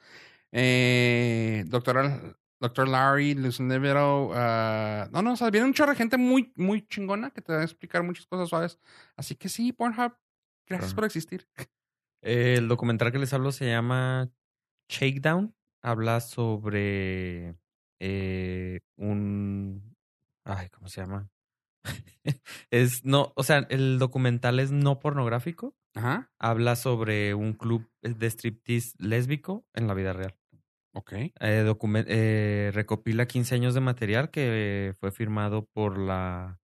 eh, doctora, doctor Larry, Luz Nevero, ah, no, no, o sea, viene un chorro de gente muy, muy chingona que te va a explicar muchas cosas suaves. Así que sí, Pornhub, gracias
Ajá.
por existir.
Eh, el documental que les hablo se llama Shakedown. Habla sobre eh, un. Ay, ¿cómo se llama? es no, o sea, el documental es no pornográfico.
Ajá,
Habla sobre un club de striptease lésbico en la vida real.
ok.
Eh, documen- eh, recopila 15 años de material que fue firmado por la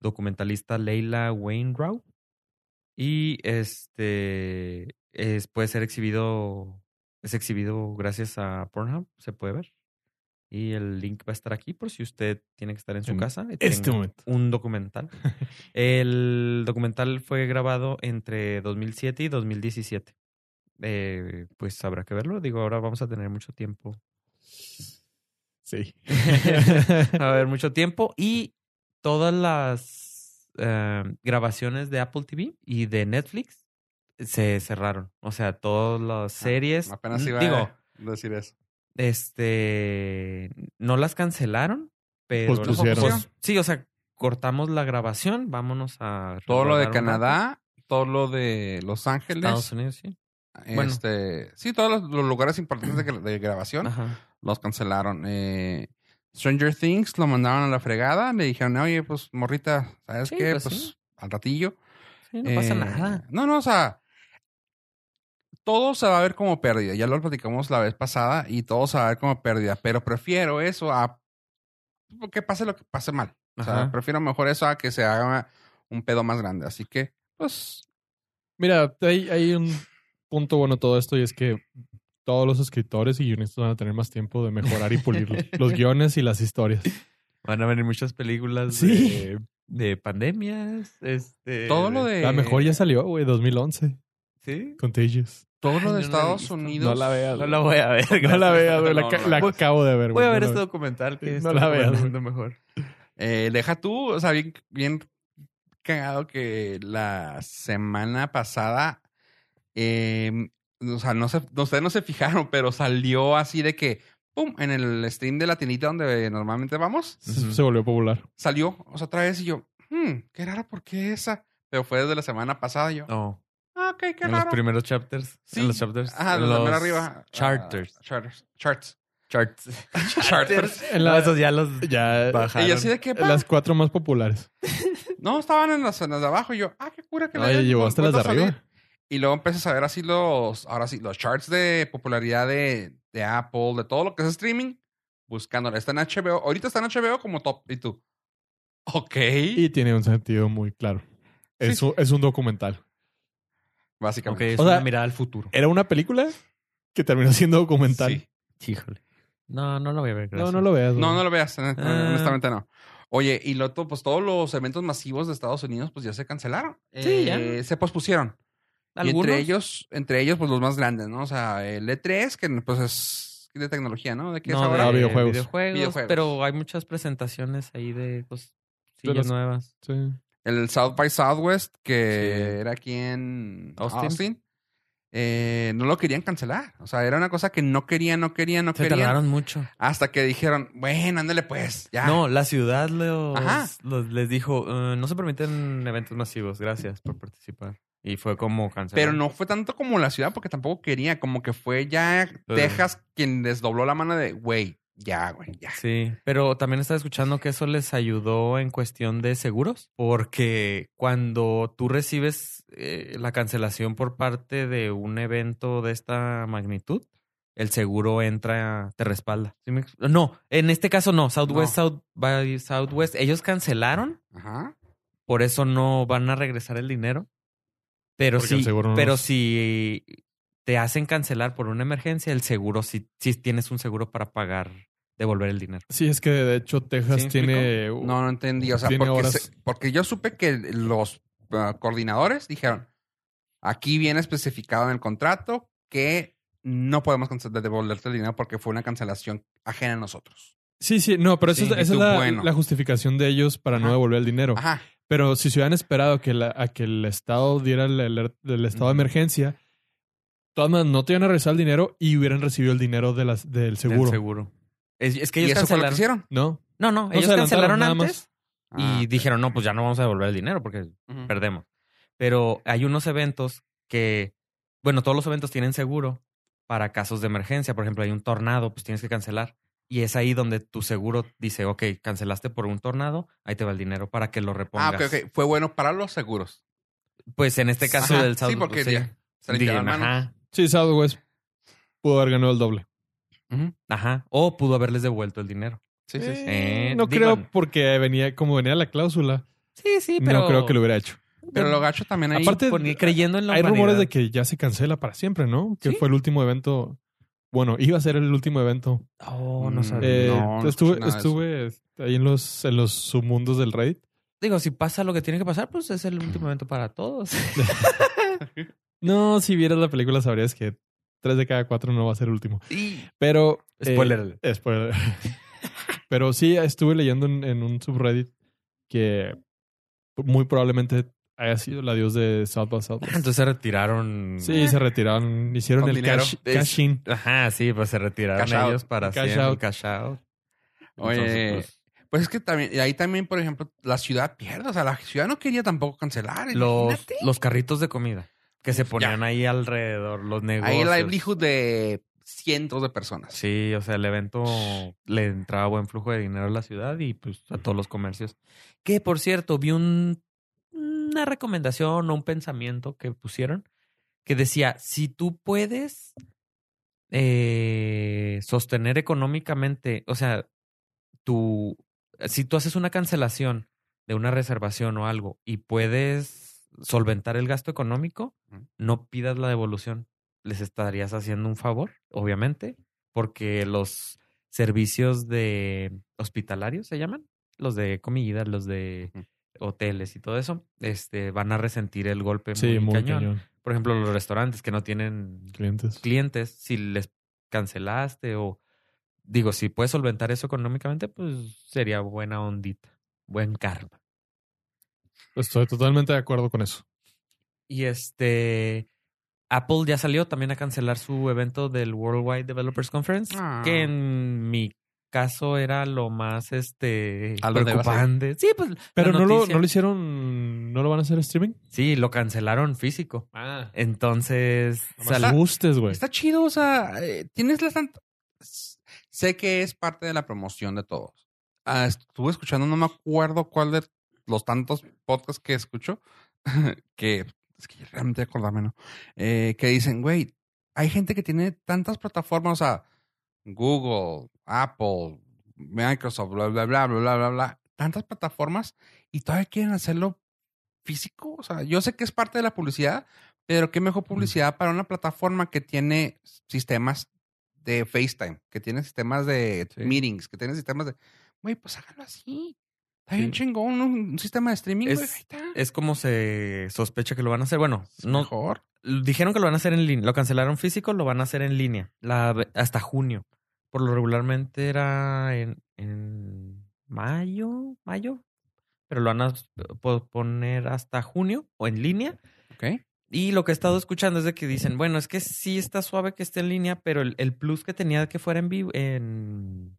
documentalista Leila Wainwright. Y este es- puede ser exhibido, es exhibido gracias a Pornhub, se puede ver. Y el link va a estar aquí por si usted tiene que estar en su
En
casa. y
Este
tenga
momento.
un documental. El documental fue grabado entre 2007 y 2017. Eh, pues habrá que verlo. Digo, ahora vamos a tener mucho tiempo.
Sí.
Va a haber mucho tiempo. Y todas las eh, grabaciones de Apple TV y de Netflix se cerraron. O sea, todas las series. mm,
Apenas iba
digo,
a decir eso.
este no las cancelaron, pero
Pues
pusieron.
sí, o sea, cortamos la grabación, vámonos a
Todo lo de
rodar un rato.
Canadá, todo lo de Los Ángeles.
Estados Unidos, sí. bueno.
Este, sí, todos los, los lugares importantes de, gra- de grabación
Ajá.
los cancelaron. Eh, Stranger Things lo mandaron a la fregada. Le dijeron, oye, pues morrita, ¿sabes
Sí,
qué? Pues,
pues, sí.
al ratillo.
Sí, no pasa
Eh,
nada.
No, no, o sea, todo se va a ver como pérdida. Ya lo platicamos la vez pasada y todo se va a ver como pérdida. Pero prefiero eso a que pase lo que pase mal. O sea,
Ajá.
prefiero mejor eso a que se haga un pedo más grande. Así que, pues,
Mira, hay, hay un punto bueno de todo esto y es que todos los escritores y guionistas van a tener más tiempo de mejorar y pulir los, los guiones y las historias.
Van a venir muchas películas
Sí.
de, de pandemias. Este,
todo lo de.
La mejor ya salió, güey, 2011.
¿Sí?
Contagious.
Todo
Ay,
lo
no la
de
he
Estados
visto.
Unidos.
veas.
No la voy a ver.
No la veas, güey. La,
No,
ca-
no.
la
Voy-
acabo de ver,
Voy
güey.
a ver
No
este
la-
documental que
No la veas,
veas. mejor.
Eh, deja tú, o sea, bien, bien cagado que la semana pasada, eh, o sea, no se, no, ustedes no se fijaron, pero salió así de que, ¡pum!, en el stream de la tiendita donde normalmente vamos,
Se, se volvió popular.
salió, o sea, otra vez y yo, hmm, qué raro, ¿por qué esa? Pero fue desde la semana pasada yo,
No.
ah, ok, qué
en los
raro.
primeros chapters.
Sí.
En los chapters.
Ajá,
en
los de mero arriba.
Charters.
Ah, charters. Charts.
Charts.
Charters.
En la-
No, esos ya los
ya
bajaron.
Y yo así de que, pa,
las cuatro más populares.
no, estaban en las, en las de abajo y yo, ah, qué cura que le
Ay,
hayan
llevó hasta las de
vuelto a salir.
arriba.
Y luego empiezas a ver así los, ahora sí, los charts de popularidad de, de Apple, de todo lo que es streaming, buscándola. Está en HBO, ahorita está en HBO como top. Y tú, ok.
Y tiene un sentido muy claro. Es, un, es un documental.
Ok,
Básicamente.
es
O sea,
una mirada al futuro.
Era una película que terminó siendo documental.
Sí.
Híjole. No, no lo voy a ver.
No,
gracias.
no lo veas.
No,
güey.
no lo veas, eh,
Ah.
honestamente no. Oye, y lo otro, pues todos los eventos masivos de Estados Unidos, pues ya se cancelaron.
Sí, ya.
Eh, Se pospusieron. Y
¿Algunos?
entre ellos, entre ellos, pues los más grandes, ¿no? O sea, el E3, que pues es de tecnología, ¿no? ¿De qué es
No,
ahora? Eh,
Ah, videojuegos.
videojuegos,
Videojuegos.
Pero hay muchas presentaciones ahí de cosas
De las-
nuevas.
Sí.
El South by Southwest, que
Sí.
era aquí en Austin,
Austin.
eh, no lo querían cancelar. O sea, era una cosa que no querían, no querían, no
Se
querían.
tardaron mucho.
Hasta que dijeron, bueno, ándale pues, ya.
No, la ciudad los-
Ajá.
los- les dijo, "Eh, no se permiten eventos masivos, gracias por participar. Y fue como cancelar.
Pero no fue tanto como la ciudad, porque tampoco quería. Como que fue ya Texas quien les dobló la mano de, güey, ya, güey, ya.
Sí, pero también estaba escuchando que eso les ayudó en cuestión de seguros, porque cuando tú recibes eh, la cancelación por parte de un evento de esta magnitud, el seguro entra, te respalda. ¿Sí me ex- No, en este caso no, Southwest,
No.
South by Southwest, ellos cancelaron,
Ajá.
por eso no van a regresar el dinero, pero
Porque el
sí,
seguro no
pero
los-
si te hacen cancelar por una emergencia, el seguro, si, si tienes un seguro para pagar, devolver el dinero.
Sí, es que de hecho Texas
¿Sí me
tiene.
No, no entendí. O sea,
Tiene
porque,
horas.
se- porque yo supe que los ah, coordinadores dijeron, aquí viene especificado en el contrato que no podemos cancelar, devolverte el dinero porque fue una cancelación ajena a nosotros.
Sí, sí, no, pero
Sí,
esa, es-
y
esa
tú,
es la,
bueno.
la justificación de ellos para no
Ajá.
devolver el dinero.
Ajá.
Pero si se hubieran esperado que la- a que el Estado diera el, alert- del estado de
Ujú.
emergencia, todas maneras no te iban a regresar el dinero y hubieran recibido el dinero de las, del
Del
seguro.
seguro. Es, es que
¿Y
ellos
eso fue lo que
cancelaron.
hicieron?
¿No?
No, no,
No se
ellos
adelantaron,
cancelaron
nada
antes y
Ah,
dijeron, no, pues ya no vamos a devolver el dinero porque
ujú.
perdemos. Pero hay unos eventos que, bueno, todos los eventos tienen seguro para casos de emergencia. Por ejemplo, hay un tornado, pues tienes que cancelar. Y es ahí donde tu seguro dice, ok, cancelaste por un tornado, ahí te va el dinero para que lo
Ah,
repongas.
ok, ok. Fue bueno para los seguros.
Pues en este caso
Ajá,
del
sí,
South
porque ya Se limpiaron
dijeron,
las manos.
ajá,
Sí, Southwest pudo haber ganado el doble.
Ujú.
ajá. O pudo haberles devuelto el dinero.
Sí, sí, sí.
Eh,
no
digo-
creo porque venía como venía la cláusula.
Sí, sí, pero...
No creo que lo hubiera hecho.
Eh,
Pero lo gacho también ahí.
Aparte,
Poni- creyendo en la
hay rumores
humanidad.
de que ya se cancela para siempre, ¿no? Que
Sí.
fue el último evento. Bueno, iba a ser el último evento.
Oh,
Mm,
no sabía.
Eh,
No, no
estuve
escuché nada de
estuve este, ahí en los, en los submundos del Reddit.
Digo, si pasa lo que tiene que pasar, pues es el último evento para todos.
No, si vieras la película sabrías que tres de cada cuatro no va a ser el último.
Y
Pero... eh,
Spoiler.
spoiler. Pero sí, estuve leyendo en, en un subreddit que muy probablemente haya sido el adiós de South by Southwest.
entonces se retiraron.
Sí, se retiraron, hicieron
Mm. Con
el
dinero.
cash, cash in.
Ajá, sí, pues se retiraron
Cash out.
ellos para
Cash
siempre.
out.
Cash out.
Oye,
Entonces,
Pues es que también, y ahí también, por ejemplo, la ciudad pierde. O sea, la ciudad no quería tampoco cancelar.
pues, los,
imagínate.
los carritos de comida que se ponían ahí alrededor, los negocios.
Ahí el livelihood de cientos de personas.
Sí, o sea, el evento le entraba buen flujo de dinero a la ciudad y pues a todos los comercios. Que por cierto, vi un, una recomendación o un pensamiento que pusieron que decía, si tú puedes eh, sostener económicamente, o sea, tu, si tú haces una cancelación de una reservación o algo y puedes solventar el gasto económico,
Ujú.
no pidas la devolución. Les estarías haciendo un favor, obviamente, porque los servicios de hospitalarios se llaman, los de comida, los de
Ujú.
hoteles y todo eso, este, van a resentir el golpe
Sí, muy cañón.
Por ejemplo, los restaurantes que no tienen
Clientes.
clientes, si les cancelaste o digo, si puedes solventar eso económicamente, pues sería buena ondita, buen karma.
Estoy totalmente de acuerdo con eso.
Y este Apple ya salió también a cancelar su evento del Worldwide Developers Conference,
Ah.
que en mi caso era lo más este
A lo de base.
preocupante. Sí, pues la
Pero no lo,
noticia.
no lo hicieron, no lo van a hacer streaming.
Sí, lo cancelaron físico.
Ah,
Entonces,
ah.
sal-
gustes, güey.
Está chido, o sea, eh, tienes la tant- S- Sé que es parte de la promoción de todos. Ah, estuve escuchando, no me acuerdo cuál de los tantos podcasts que escucho, que es que realmente acordarme, ¿no? Eh, que dicen, güey, hay gente que tiene tantas plataformas, o sea, Google, Apple, Microsoft, bla, bla, bla, bla, bla, bla, bla, tantas plataformas y todavía quieren hacerlo físico. O sea, yo sé que es parte de la publicidad, pero qué mejor publicidad para una plataforma que tiene sistemas de FaceTime, que tiene sistemas de
Sí.
meetings, que tiene sistemas de. Güey, pues háganlo así. Está
Sí.
bien chingón, un, un sistema de streaming,
Es-
güey, ahí está.
es como se sospecha que lo van a hacer. Bueno,
Es
no,
mejor.
dijeron que lo van a hacer en línea. Lo cancelaron físico, lo van a hacer en línea. La, hasta junio. Por lo regularmente era en, en mayo, mayo. Pero lo van a poner hasta junio o en línea.
Ok.
Y lo que he estado escuchando es de que dicen, bueno, es que sí está suave que esté en línea, pero el, el plus que tenía que fuera en vivo, en,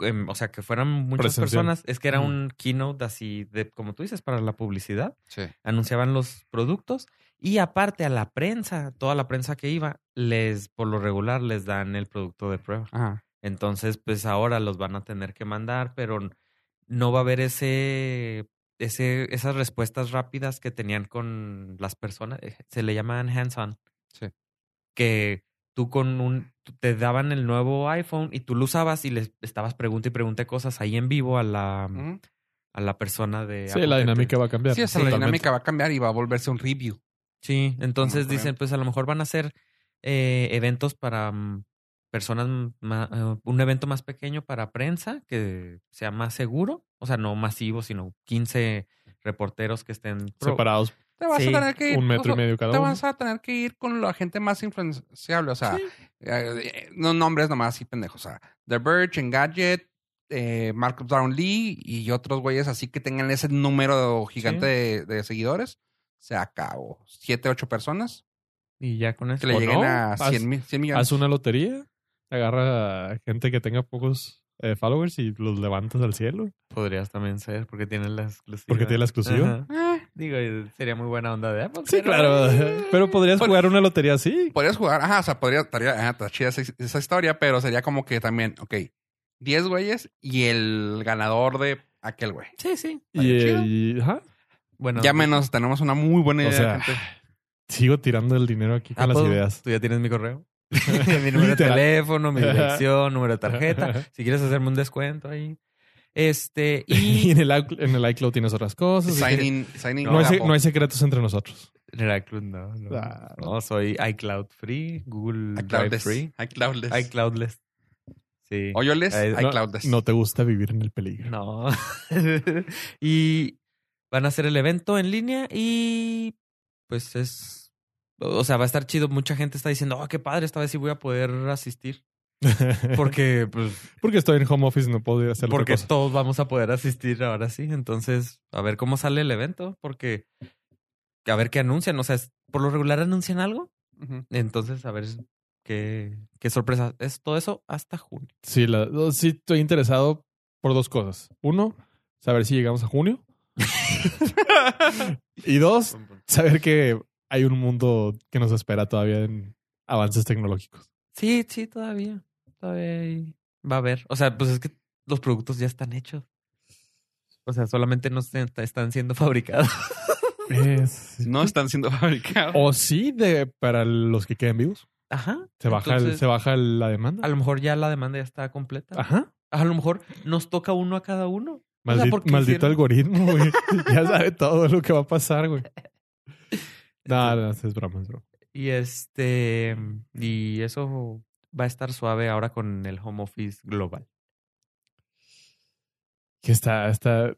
en- o sea, que fueran muchas
Presencial.
personas, es que era
Ujú.
un keynote así, de, como tú dices, para la publicidad
Sí.
anunciaban los productos y aparte a la prensa, toda la prensa que iba, les por lo regular les dan el producto de prueba.
Ajá.
Entonces, pues ahora los van a tener que mandar, pero n- no va a haber ese, ese esas respuestas rápidas que tenían con las personas, eh, se le llaman hands-on.
Sí.
Que tú con un tú- te daban el nuevo iPhone y tú lo usabas y les estabas pregunta y pregunta cosas ahí en vivo a la
Ujú.
a la persona de
Mm. Sí,
Apple
la
que te-
dinámica va a cambiar.
Sí, o sea, la
totalmente.
dinámica va a cambiar y va a volverse un review.
Sí, entonces
muy bien.
dicen, pues a lo mejor van a hacer eh, eventos para mm, personas, m- ma- eh, un evento más pequeño para prensa que sea más seguro, o sea, no masivo, sino 15 reporteros que estén pro-
Separados.
Te vas
Sí,
a tener que ir.
un metro
o
y
sea,
medio cada
Te
uno.
vas a tener que ir con la gente más influenciable. O sea,
Sí.
eh, eh, no nombres nomás así pendejos. O sea, The Verge, Engadget, eh, Marcus Down Lee y otros güeyes así que tengan ese número gigante de, de seguidores. Se acabó. Siete, ocho personas
y ya con
que
eso.
le
¿O
lleguen
no?
a
Haz-
100, mil- 100 millones.
Haz una lotería, agarra a gente que tenga pocos eh, followers y los levantas al cielo.
Podrías también ser, porque tienen la exclusiva.
Porque tiene la exclusiva.
Ajá.
Eh,
Digo, eh, sería muy buena onda de Apple.
Sí,
pero-
claro. Pero podrías
Bueno.
jugar una lotería así.
podrías jugar. Ajá, o sea, podría. Estaría, ajá, está chida esa, esa historia, pero sería como que también, ok, 10 güeyes y el ganador de aquel güey.
Sí, sí.
Y, eh,
chido.
y- ajá.
Bueno,
Llámenos, tenemos una muy buena
O
idea.
sea,
gente.
sigo tirando el dinero aquí con las
Apple,
ideas.
Ah, Tú ya tienes mi correo. mi número de
Literal.
teléfono, mi dirección, número de tarjeta. Si quieres hacerme un descuento ahí. Este,
Y
y
en el, iCl- en el iCloud tienes otras cosas. si quieres-
Signing, signing
No, hay,
with
se-
Apple.
no hay secretos entre nosotros.
Heraclus, no, no.
Ah.
No, soy iCloud Free, Google Drive
iCloudless.
Free,
iCloudless.
iCloudless. Sí.
O yo les,
Eh,
No,
iCloudless.
no te gusta vivir en el peligro.
No. y van a hacer el evento en línea y pues es. O sea, va a estar chido. Mucha gente está diciendo, oh, qué padre, esta vez sí voy a poder asistir. Porque, pues,
Porque estoy en home office y no puedo ir a hacer
porque
otra cosa.
todos vamos a poder asistir ahora sí. Entonces, a ver cómo sale el evento, porque a ver qué anuncian. O sea, es- por lo regular anuncian algo.
Ujú.
Entonces, a ver qué, qué sorpresa. Es todo eso hasta junio.
Sí, la- no, sí estoy interesado por dos cosas. Uno, saber si llegamos a junio. y dos, saber que hay un mundo que nos espera todavía en avances tecnológicos.
Sí, sí, todavía. Todavía hay- va a haber. O sea, pues es que los productos ya están hechos. O sea, solamente no se- están siendo fabricados.
No están siendo fabricados.
O sí, de, para los que queden vivos.
Ajá.
Se baja, el-
Entonces,
se baja la demanda.
A lo mejor ya la demanda ya está completa.
Ajá.
a lo mejor nos toca uno a cada uno. O sea,
Maldi-
porque
maldito
hicieron-
algoritmo, güey. ya sabe todo lo que va a pasar, güey. No, no, es broma, es broma.
Y este. Y eso va a estar suave ahora con el home office global.
Que está, está,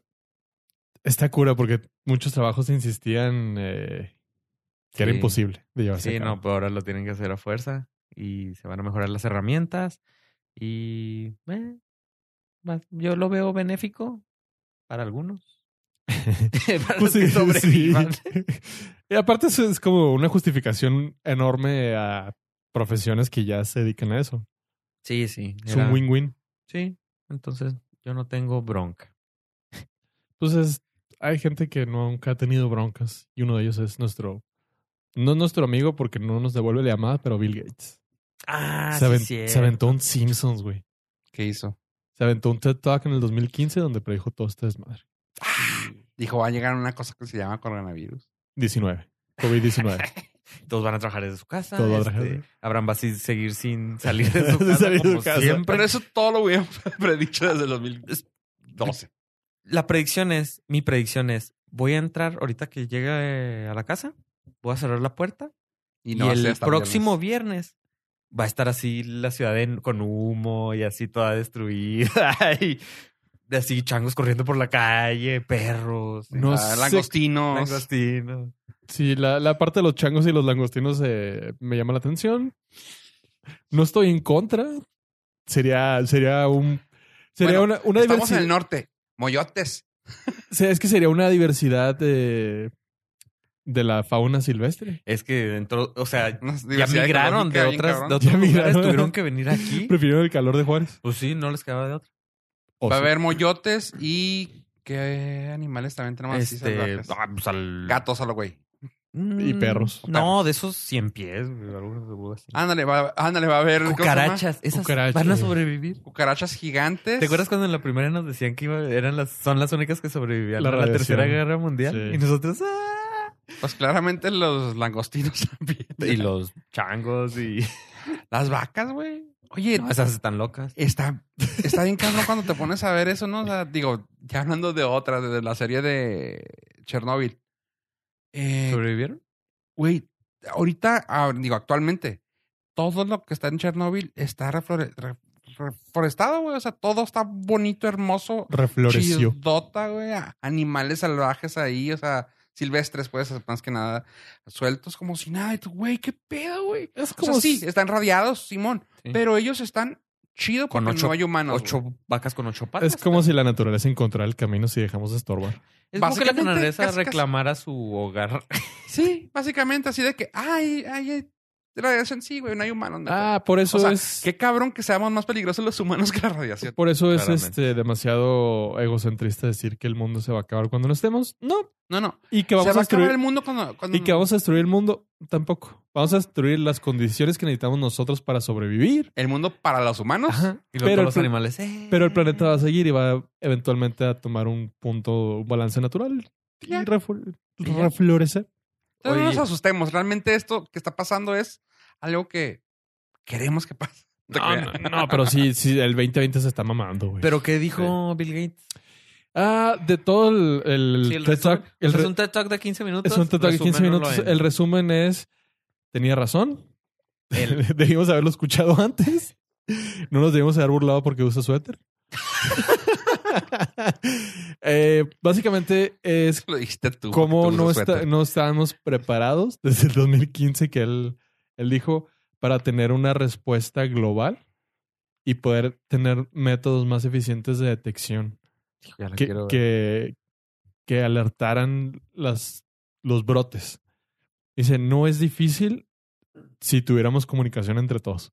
está cura porque muchos trabajos insistían eh, que era
Sí.
imposible de llevarse
Sí,
a
no,
cabo.
pero ahora lo tienen que hacer a fuerza y se van a mejorar las herramientas y eh, va- yo lo veo benéfico para algunos. para los
Pues sí,
que
sí.
sobrevivan.
y aparte eso es como una justificación enorme a profesiones que ya se dedican a eso.
Sí, sí.
Es
era-
un win-win.
Sí, entonces yo no tengo bronca.
Entonces, hay gente que nunca ha tenido broncas y uno de ellos es nuestro, no nuestro amigo porque no nos devuelve la llamada, pero Bill Gates.
Ah,
se, aven-
sí,
se
cierto.
aventó un Simpsons, güey.
¿Qué hizo?
Se aventó un TED Talk en el 2015 donde predijo todo este desmadre.
Dijo, va a llegar una cosa que se llama coronavirus.
19. COVID-19.
Todos van a trabajar desde su casa.
Todo va a
este,
trabajar.
Abraham va a si- seguir sin salir de su
Sin
casa.
salir de
como
su casa.
siempre.
Pero eso todo lo hubiera predicho desde el 2012.
la predicción es, mi predicción es, voy a entrar ahorita que llegue eh, a la casa, voy a cerrar la puerta y,
va a ser
el
hasta
próximo
viernes.
viernes. va a estar así la ciudad en- con humo y así toda destruida y así changos corriendo por la calle, perros,
No
Ah,
sé-
langostinos.
langostinos.
Sí, la, la parte de los changos y los langostinos eh, me llama la atención. No estoy en contra. Sería, sería un. Sería
Bueno,
una, una
Estamos en
diversidad.
el norte. Moyotes.
Es que sería una diversidad de, de la fauna silvestre.
Es que dentro, o sea,
Una
ya
diversidad
migraron de
ecológica bien
otras,
cabrón.
de otros
Ya
lugares,
migraron.
tuvieron que venir aquí.
Prefiero el calor de Juárez.
Pues sí, no les quedaba de otra.
O
Va a
sea,
haber moyotes y... ¿Qué animales también tenemos así
Este,
salvajes?
ah, pues al-
Gatos a lo güey.
Y
Mm,
perros.
No, de esos 100 pies. güey, algunos de huevo así.
Ándale, va, ándale, va a haber... ¿cómo se llama?
Cucarachas. Esas
Cucarachas,
van a
güey.
sobrevivir.
Cucarachas gigantes.
¿Te acuerdas cuando en la primera nos decían que iba- eran las, son las únicas que sobrevivían
La
a la
radiación.
Tercera Guerra Mundial?
Sí.
Y nosotros... ¡ah!
Pues claramente los langostinos también.
Y los changos y...
Las vacas, güey. Oye,
No, esas están locas.
está, está bien cabrón cuando te pones a ver eso, ¿no? O sea, digo, ya hablando de otra, de la serie de Chernobyl. Eh,
¿Sobrevivieron?
Güey, ahorita, ah, digo, actualmente, todo lo que está en Chernobyl está reflore- re- reforestado, güey. O sea, todo está bonito, hermoso.
refloreció.
Chidota, güey. a- Animales salvajes ahí, o sea, silvestres, pues, más que nada, sueltos como si nada. Y tú, güey, qué pedo, güey.
Es
O sea, sí, están rodeados, Simón.
Sí.
Pero ellos están chido
Con
porque
ocho-
no hay humanos. güey.
Ocho vacas con ocho patas.
es como si la naturaleza encontrara el camino si dejamos de estorbar.
Es como que la
básicamente,
naturaleza
casi, casi.
reclamara su hogar.
Sí, básicamente así de que, ay, ay, ay, radiación sí, güey, no hay humanos. no hay
Ah, por eso
O sea,
es.
Qué cabrón que seamos más peligrosos los humanos que la radiación.
Por eso es
Claramente.
este demasiado egocentrista decir que el mundo se va a acabar cuando no estemos. No.
No, no.
Y que
Se
vamos
va a
a
acabar
destruir.
el mundo cuando. cuando-
Y que vamos a destruir el mundo. Tampoco. Vamos a destruir las condiciones que necesitamos nosotros para sobrevivir.
El mundo para los humanos.
Ajá.
Y
Pero
luego todos
el
los
pla-
animales... "Eh".
Pero el planeta va a seguir y va eventualmente a tomar un punto, un balance natural. Y
Ya.
reful-
Ya.
reflorecer.
Entonces,
Oye.
no nos asustemos. Realmente esto que está pasando es algo que queremos que pase.
No, no, no, pero sí, sí, el 2020 se está mamando, güey.
¿Pero qué dijo Bill Gates?
Ah, de todo el, el
Sí, el
TED
resumen.
Talk, el
O sea,
re-
es un TED Talk de 15 minutos.
es un TED Talk de 15
Resúmenlo
minutos.
en-
El resumen es, tenía razón,
El-
debimos haberlo escuchado antes, no nos debimos haber burlado porque usa suéter. Eh, básicamente es
Lo dijiste tú.
como
porque tú
no,
usas
está-
suéter.
no estábamos preparados desde el 2015 que él, él dijo para tener una respuesta global y poder tener métodos más eficientes de detección
Ya la
que,
quiero ver.
que, que alertaran las, los brotes. Dice, no es difícil si tuviéramos comunicación entre todos.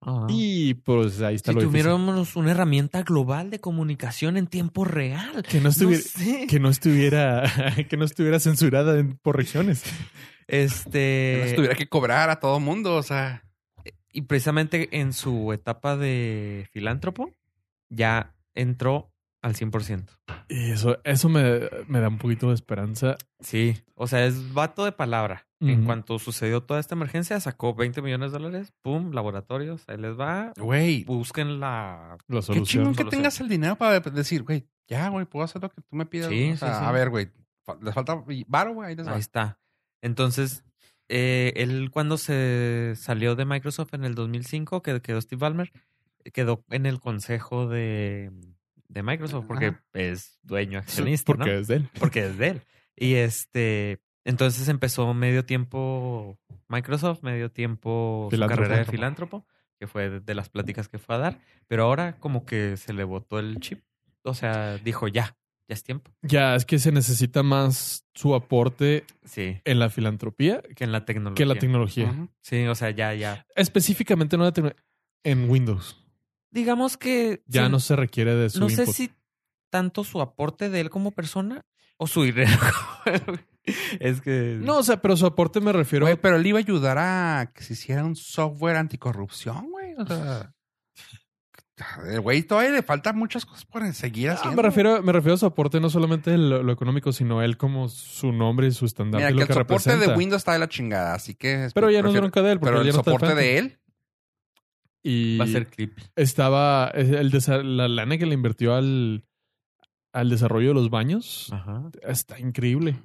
Ah.
Y pues ahí está
Si
lo difícil.
tuviéramos una herramienta global de comunicación en tiempo real.
Que no estuviera...
No sé.
Que no estuviera, que no estuviera censurada en- por regiones.
Que nos
eh,
Este.
tuviera que cobrar a todo mundo, o sea.
Y precisamente en su etapa de filántropo, ya entró al 100%.
Y eso, eso me, me da un poquito de esperanza.
Sí, o sea, es vato de palabra. En
Ujú.
cuanto sucedió toda esta emergencia, sacó 20 millones de dólares, pum, laboratorios, ahí les va,
Güey,
busquen la...
La
qué chingón
solución.
que
solución.
tengas el dinero para decir, güey, ya, güey, puedo hacer lo que tú me pidas.
Sí,
O sea,
sí, sí.
A ver, güey, fa- les falta varo, güey, ahí les va.
Ahí está. Entonces, eh, él cuando se salió de Microsoft en el 2005, que quedó Steve Ballmer, quedó en el consejo de, de Microsoft porque
Ajá.
es dueño accionista, ¿no?
Porque es de él.
porque es de él. Y este, entonces empezó medio tiempo Microsoft, medio tiempo su
Filántropo.
carrera de filántropo, que fue de, de las pláticas que fue a dar, pero ahora como que se le botó el chip. O sea, dijo ya, ya es tiempo.
Ya, es que se necesita más su aporte
Sí,
en la filantropía
que en la tecnología.
que en la tecnología.
Ujú.
Sí, o sea, ya, ya.
Específicamente no la tecno- en Windows.
Digamos que
Ya
sí,
no se requiere de su
no sé
input.
si tanto su aporte de él como persona o su dinero. es que
No, o sea, pero su aporte me refiero
Güey, pero él iba a ayudar a que se hiciera un software anticorrupción, güey. O
Ah,
sea, el güey todavía le faltan muchas cosas por seguir
Ah,
haciendo.
me refiero, me refiero a su aporte no solamente lo, lo económico, sino él como su nombre y su estandarte
Mira,
y
que
lo
el
que
soporte
representa.
de Windows está de la chingada, así que... es-
pero ya no es
prefiero-
bronca de él, porque
Pero
él ya
el
no está
soporte
Phantom.
de él,
Y
va a ser clip.
estaba es- el desa- la lana que le invirtió al, al desarrollo de los
Ah.
baños
Ajá.
está increíble.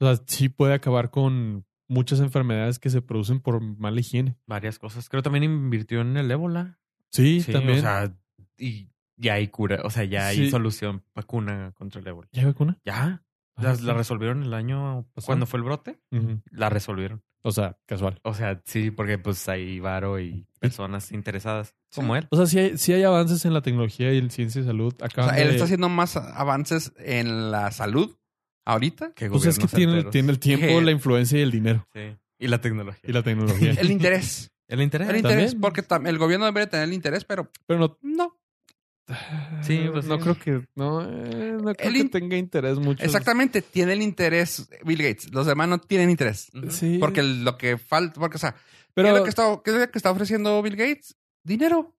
O sea, sí puede acabar con muchas enfermedades que se producen por mala higiene.
varias cosas. Creo también invirtió en el ébola.
Sí,
Sí,
también.
O sea, y ya hay cura, o sea, ya hay
Sí.
solución, vacuna contra el ébola.
¿Ya hay vacuna?
Ya, la, la resolvieron el año
Ah, ¿Pasado?
cuando fue el brote,
Ujú.
la resolvieron.
O sea, casual.
O sea, sí, porque pues hay varo y personas interesadas como él.
O sea, sí hay, sí hay avances en la tecnología y en ciencia y salud.
o
Acaban
sea, él
de-
está haciendo más avances en la salud ahorita.
Que
Pues es que
gobiernos
tiene,
enteros.
tiene el tiempo,
Que-
la influencia y el dinero.
Sí. Y la tecnología.
Y la tecnología.
El interés.
El interés.
El interés.
También.
Porque tam- el gobierno debería tener el interés, pero
Pero no.
no.
Sí, pues
no
sí.
creo que. No, eh, no creo
El
que
in-
tenga interés mucho.
Exactamente, tiene el interés Bill Gates. Los demás no tienen interés.
Ujú.
Sí.
Porque lo que falta, porque, o sea, ¿qué es
pero.
lo que está, qué es lo que está ofreciendo Bill Gates? Dinero.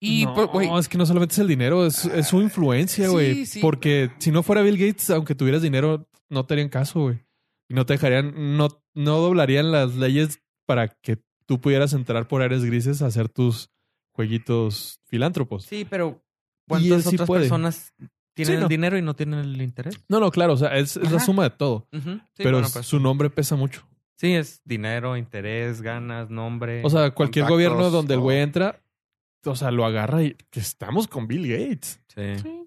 Y,
no,
pues, güey,
es que no solamente es el dinero, es, es su influencia,
Sí,
güey.
sí.
Porque si no fuera Bill Gates, aunque tuvieras dinero, no te harían caso, güey. Y no te dejarían, no, no doblarían las leyes para que tú pudieras entrar por áreas grises a hacer tus jueguitos filántropos.
Sí, pero
Y él
¿cuántas
sí
otras
puede.
personas tienen
Sí, no.
el dinero y no tienen el interés?
No, no, claro, o sea, es, es la
Ajá.
suma de todo.
Ujú. Sí,
pero
bueno, pues,
su nombre pesa mucho.
sí, es dinero, interés, ganas, nombre.
O sea, cualquier
contactos,
gobierno donde el güey
todo.
entra, o sea, lo agarra y que estamos con Bill Gates.
Sí.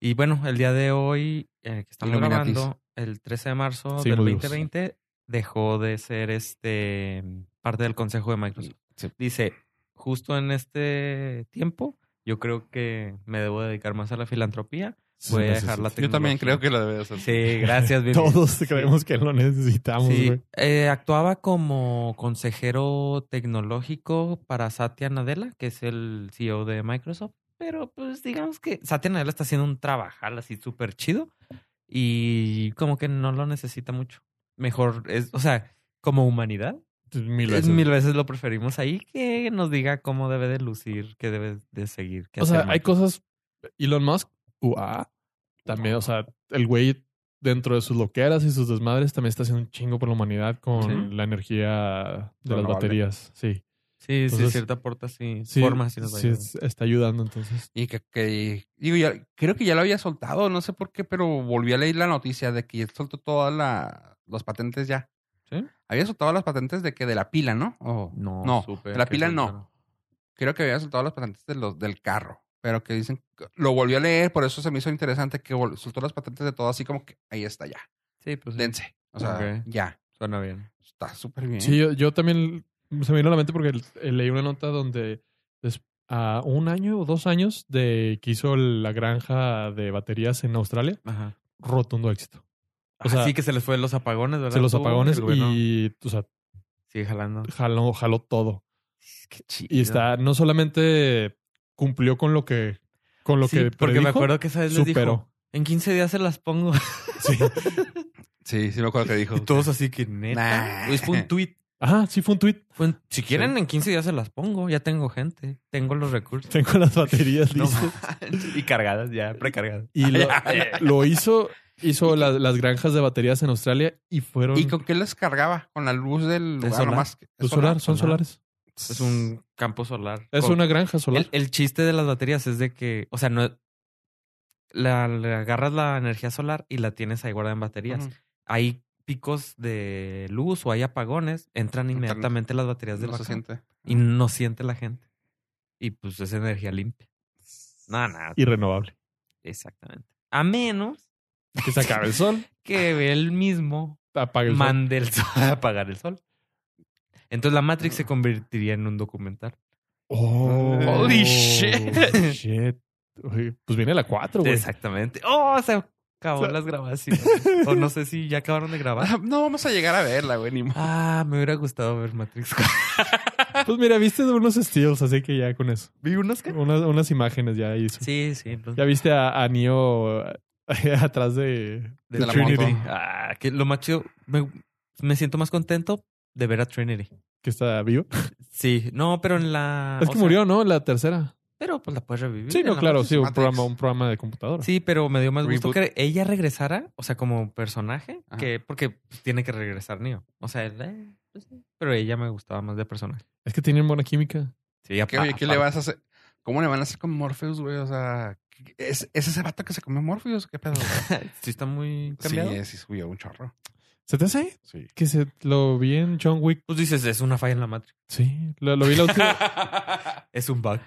Y bueno, el día de hoy eh, que estamos
Illuminatis.
grabando, el 13 de marzo
Sí,
del
muy duros.
2020, dejó de ser este parte del consejo de Microsoft.
Mm,
Sí.
Dice, justo en este tiempo, yo creo que me debo dedicar más a la filantropía. Voy a dejar la
yo también creo
tecnología".
que lo debe hacer.
Sí, gracias, Bill Gates.
Todos creemos que lo necesitamos,
Sí,
güey.
eh, actuaba como consejero tecnológico para Satya Nadella, que es el CEO de Microsoft. Pero pues digamos que Satya Nadella está haciendo un trabajal así súper chido y como que no lo necesita mucho. Mejor es, o sea, como humanidad,
Pues, Mil
es
veces.
mil veces lo preferimos ahí que nos diga cómo debe de lucir, qué debe de seguir. qué
O sea,
hacer
hay
Microsoft.
cosas. Elon Musk, UA, también, o sea, el güey dentro de sus loqueras y sus desmadres también está haciendo un chingo por la humanidad con
Sí.
la energía de las
Renovable.
baterías. Sí.
Sí, sí,
entonces-
cierta aporta, sí,
Sí,
forma, sí nos va a
sí,
ayudar.
es- está ayudando entonces.
Y que, que- digo, ya, creo que ya lo había soltado, no sé por qué, pero volví a leer la noticia de que ya soltó todas la- las patentes ya.
¿Sí?
Había soltado las patentes de que de la pila, ¿no? O-
No,
no,
supe
de la
que
pila
eso
no.
era.
Creo que había soltado las patentes de los, del carro, pero que dicen, lo volví a leer, por eso se me hizo interesante que vol- soltó las patentes de todo, así como que ahí está ya.
Sí, pues sí,
Dense. O sea,
Ok.
ya.
suena bien.
Está súper bien.
Sí, yo, yo también se me vino a la mente porque eh, leí una nota donde des- a un año o dos años de que hizo la granja de baterías en Australia,
Ajá.
rotundo éxito. O
Ah,
sea,
sí, que se les fue los apagones, ¿verdad?
Se los
Tuvo
apagones
el gobierno.
y o sea,
Sigue jalando.
jaló, jaló todo.
pues, Qué chido.
Y está, no solamente cumplió con lo que con lo
Sí,
que
porque me
predijo,
acuerdo que esa vez les dijo,
superó.
en 15 días se las pongo.
Sí.
Sí, sí me acuerdo que dijo.
Y todos así que, neta.
Nah.
Es un tweet.
Ajá, Ah, sí fue un tweet.
Pues, si quieren, en 15 días se las pongo. Ya tengo gente. Tengo los recursos.
Tengo las baterías
No
listas.
manches. y cargadas ya, precargadas.
Y lo, lo hizo, hizo la- las granjas de baterías en Australia y fueron
¿Y con qué les cargaba? Con la luz del
De
lugar
solar.
nomás. que-
pues,
solar.
solar, son
solar.
solares.
Es un campo solar.
Es
Con-
una granja solar.
El, el chiste de las baterías es de que, o sea, no la, le agarras la energía solar y la tienes ahí guardada en baterías.
Ujú.
Hay picos de luz o hay apagones, entran
Entran-
inmediatamente las baterías del
No se
backup
siente.
y no siente la gente. Y pues es energía limpia. Nada, nada.
Y renovable.
Exactamente. A menos
Que se acabe el sol.
que él mismo
Apague el sol.
mande el sol a apagar el sol. Entonces la Matrix se convertiría en un documental.
Oh,
Holy
shit.
shit. Oye, Pues viene la 4, güey.
Exactamente. Oh, se acabó las grabaciones. O no sé si ya acabaron de grabar.
Ah, No vamos a llegar a verla, güey. Ni mo-
Ah, me hubiera gustado ver Matrix.
Pues mira, viste unos steals, así que ya con eso.
¿Vi unas que?
Unas, unas imágenes ya hizo.
Sí, sí. pues,
Ya viste a, a Neo eh, atrás de,
de la
Trinity.
moto.
Ah, que lo más chido. Me, me siento más contento de ver a Trinity.
que está vivo.
Sí, no, pero en la.
es
Ah, o
que
sea,
murió, ¿no? La tercera.
Pero pues la puedes revivir.
Sí,
en
no,
la
claro,
Matrix.
sí, un
Matrix.
programa, un programa de computadora.
Sí, pero me dio más gusto
Reboot.
que ella regresara, o sea, como personaje,
Ajá.
que porque pues, tiene que regresar Neo. O sea, él, eh, pues, sí, pero ella me gustaba más de personaje.
Es que tienen buena química.
Sí,
¿Qué, oye, ¿qué le vas a hacer? ¿Cómo le van a hacer con Morpheus, güey? O sea, ¿es, es ese vato que se comió Morpheus? ¿Qué pedo? güey?
Sí, está muy cambiado.
Sí, sí, subió un chorro.
¿Se te hace?
Sí.
Que se lo vi en John Wick.
Pues dices, es una falla en la Matrix.
Sí, lo, lo vi la última.
es un bug.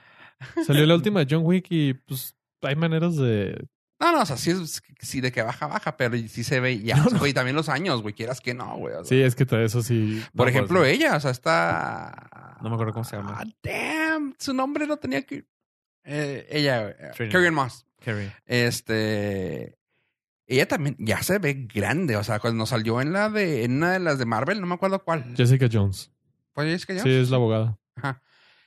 salió la última de John Wick y pues hay maneras de.
No, no, o sea, sí, es, sí de que baja, baja, pero sí se ve ya. güey, Y también los años, güey, quieras que no, güey. o sea.
Sí, es que todo eso sí.
Por
No,
ejemplo,
pues,
ella, o sea, está.
No me acuerdo cómo se llama.
Ah, damn, su nombre no tenía que. Eh, ella, güey, eh,
Trinity.
Carrion Moss.
Carrie.
Este. Ella también ya se ve grande, o sea, cuando salió en la de en una de las de Marvel, no me acuerdo cuál.
Jessica Jones.
Pues es que ya.
Sí, es la abogada.
Ajá.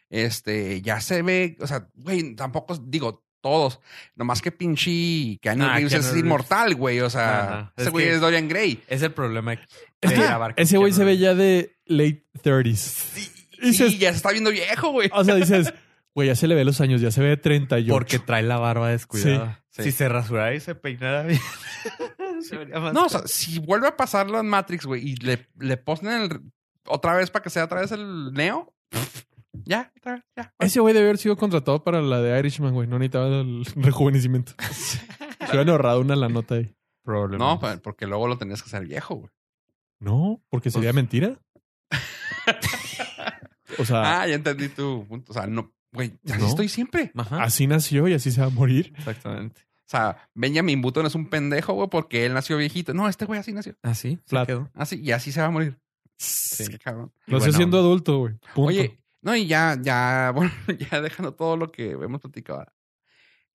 Este, ya se ve, o sea, güey, tampoco digo todos, nomás que pinche Keanu
Ah,
Reeves
Keanu
es
Reeves.
inmortal, güey, o sea,
Ajá.
ese
Es
güey
que-
es Dorian Gray.
Es el problema. de
Es que
grabar con
ese güey se
Keanu
ve ya
Reeves.
de late 30s.
Sí,
Dices-
sí, ya se está viendo viejo, güey.
Ah,
O sea, dices, güey, ya se le ve los años, ya se ve de 38.
Porque trae la barba descuidada.
Sí, sí.
Si se rasurara y se peinara bien. se vería más
No, o sea, si vuelve a pasar la Matrix, güey, y le, le ponen el- otra vez para que sea otra vez el Neo, ya, otra vez, ya.
Ese güey debe haber sido contratado para la de Irishman, güey. No necesitaba el rejuvenecimiento. Se hubieran ahorrado una la nota ahí.
Probablemente.
No, pa- porque luego lo tenías que hacer viejo, güey.
No, porque sería
Pues-
mentira. o sea,
Ah, ya entendí tu punto. O sea, no, güey, así
No.
estoy siempre.
Ajá.
así nació y así se va a morir.
Exactamente.
O sea, Benjamin Button es un pendejo, güey, porque él nació viejito. No, este güey así nació.
Así. se
Flat.
Ah, quedó.
Así, Ah, y así se va a morir. Qué cabrón.
Y
Nació
buena
siendo
onda.
adulto, güey. Punto.
Oye, no, y ya, ya, bueno, ya dejando todo lo que hemos platicado.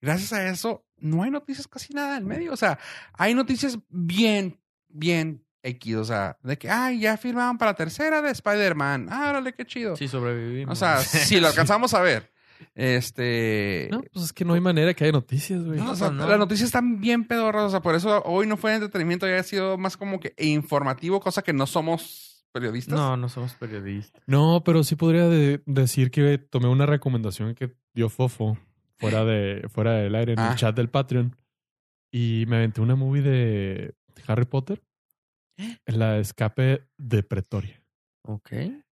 Gracias a eso, no hay noticias casi nada en medio. O sea, hay noticias bien, bien X. O sea, de que, ay, ya firmaron para la tercera de Spider-Man. Ah, órale, qué chido.
Sí, sobrevivimos.
o sea, si lo alcanzamos a ver. Este.
no, pues es que no hay manera que haya noticias, güey.
No, o
pues
sea,
no.
Las noticias están bien pedorras, o sea, por eso hoy no fue entretenimiento, ya ha sido más como que informativo, cosa que no somos periodistas.
No, no somos periodistas.
No, pero sí podría de- decir que tomé una recomendación que dio Fofo fuera, de, fuera del aire en
Ah.
el chat del Patreon. Y me aventé una movie de Harry Potter. La escape de Pretoria.
Ok.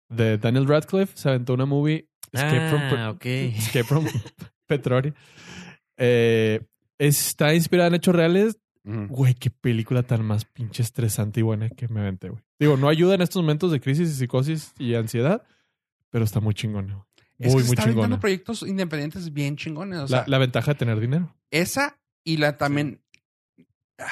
De Daniel Radcliffe se aventó una movie Escape from, Pre-
Ah, ok.
Escape from Pretoria. Eh, está inspirada en hechos reales.
Ujú.
Güey, qué película tan más pinche estresante y buena que me aventé, güey. Digo, no ayuda en estos momentos de crisis y psicosis y ansiedad, pero está muy chingona. güey.
Es que
Muy,
se
muy
están aventando
chingona.
proyectos independientes bien chingones. O sea,
la, la ventaja de tener dinero.
esa y la también. Ah,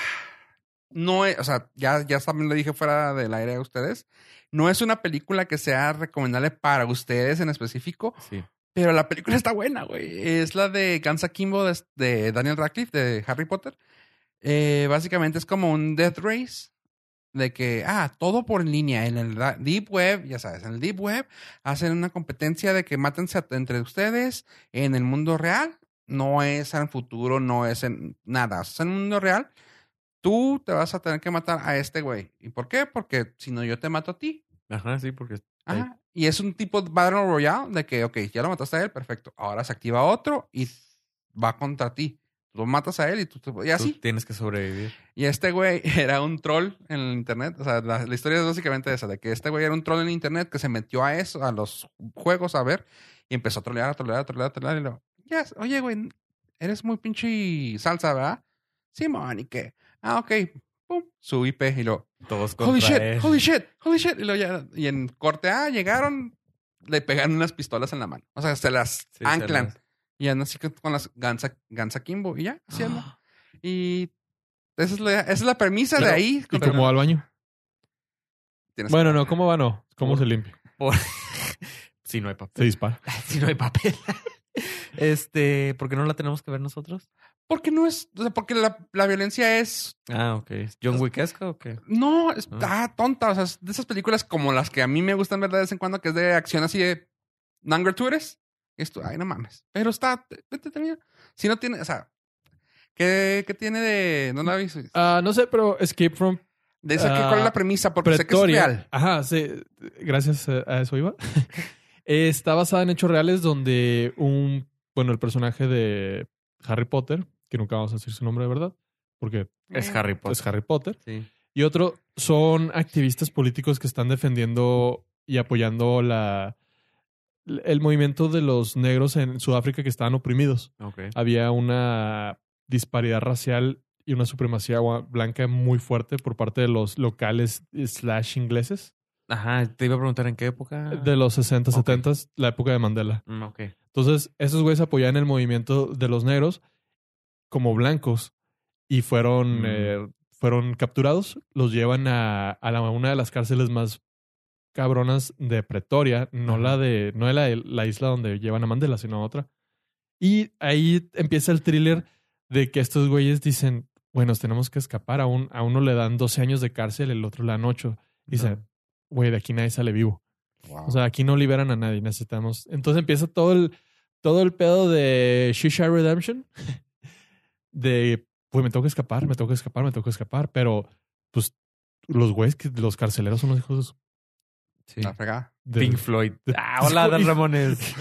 No es, o sea, ya, ya también lo dije fuera del aire a ustedes. No es una película que sea recomendable para ustedes en específico,
Sí.
pero la película está buena, güey. Es la de Gansa Kimbo de, de Daniel Radcliffe, de Harry Potter. Eh, básicamente es como un Death Race. De que, ah, todo por línea. En el ra- Deep Web, ya sabes, en el Deep Web hacen una competencia de que mátense a- entre ustedes en el mundo real. No es en el futuro, no es en nada. Es en el mundo real. Tú te vas a tener que matar a este güey. ¿Y por qué? Porque si no, yo te mato a ti.
Ajá, sí, porque
Ajá. Y es un tipo de Battle Royale de que, ok, ya lo mataste a él, perfecto. Ahora se activa otro y va contra ti. Tú lo matas a él y tú te... Y
Tú
así.
tienes que sobrevivir.
Y este güey era un troll en el internet. O sea, la, la historia es básicamente esa, de que este güey era un troll en el internet que se metió a eso, a los juegos, a ver, y empezó a trolear, a trolear, a trolear, a trolear. Y luego, "Yes, oye, güey, eres muy pinche salsa, ¿verdad? Simón, ¿y qué? Ah, ok. Pum, su IP y luego,
Todos contra
holy shit,
él.
holy shit, holy shit. Y, luego ya- y en corte A llegaron, le pegaron unas pistolas en la mano. O sea, se las
Sí, se
anclan.
las-
Y andan así con con las Gansa, Gansa Kimbo y ya, así
Ah.
anda. Y esa es la, esa es la premisa de
Claro.
ahí.
¿Y
Con-
cómo va al baño?
tienes-
Bueno, no, ¿cómo va? No. ¿Cómo
Por-
se limpia?
Por- si no hay
Se
papel.
dispara.
si no hay papel. este, ¿por qué no la tenemos que ver nosotros?
Porque no es, o sea, porque la, la violencia es,
Ah, ok. ¿John Wickesca o qué?
no, está
Ah.
tonta. O sea, es de esas películas como las que a mí me gustan ver de vez en cuando, que es de acción así de Nanger tú eres. Esto, ay, no mames. Pero está entretenida. Si no tiene, o sea, ¿qué, qué tiene de, no la vi?
Ah, no sé, pero Escape from
De esa, ¿qué- ¿cuál es la
Ah,
premisa? Porque
Pretoria.
sé que es real.
Ajá, sí. Gracias eh, a eso iba. Eh, Está basada en hechos reales donde un, bueno, el personaje de Harry Potter, que nunca vamos a decir su nombre de verdad, porque
Es Harry Potter.
es Harry Potter,
Sí.
y otro son activistas políticos que están defendiendo y apoyando la el movimiento de los negros en Sudáfrica que estaban oprimidos.
Ok.
Había una disparidad racial y una supremacía gua- blanca muy fuerte por parte de los locales slash ingleses
Ajá, te iba a preguntar en qué época.
de los 60,
Ah. Ok.
70, la época de Mandela.
Mm, ok.
Entonces, esos güeyes apoyaban el movimiento de los negros como blancos y fueron,
Mm.
eh, fueron capturados. Los llevan a, a la- una de las cárceles más cabronas de Pretoria, no
Ajá.
la de no de la, la isla donde llevan a Mandela, sino otra. Y ahí empieza el thriller de que estos güeyes dicen, bueno, nos tenemos que escapar. A, un, a uno le dan 12 años de cárcel, el otro le dan 8. Dice,
Ajá.
güey, de aquí nadie sale vivo.
Wow.
O sea, aquí no liberan a nadie, necesitamos. Entonces empieza todo el, todo el pedo de Shisha Redemption. De, pues me tengo que escapar, me tengo que escapar, me tengo que escapar. Pero, pues, los güeyes, que- los carceleros son los hijos de su-
Sí.
ah,
la fregada.
de-
Pink Floyd. Ah, hola, Dan Ramones.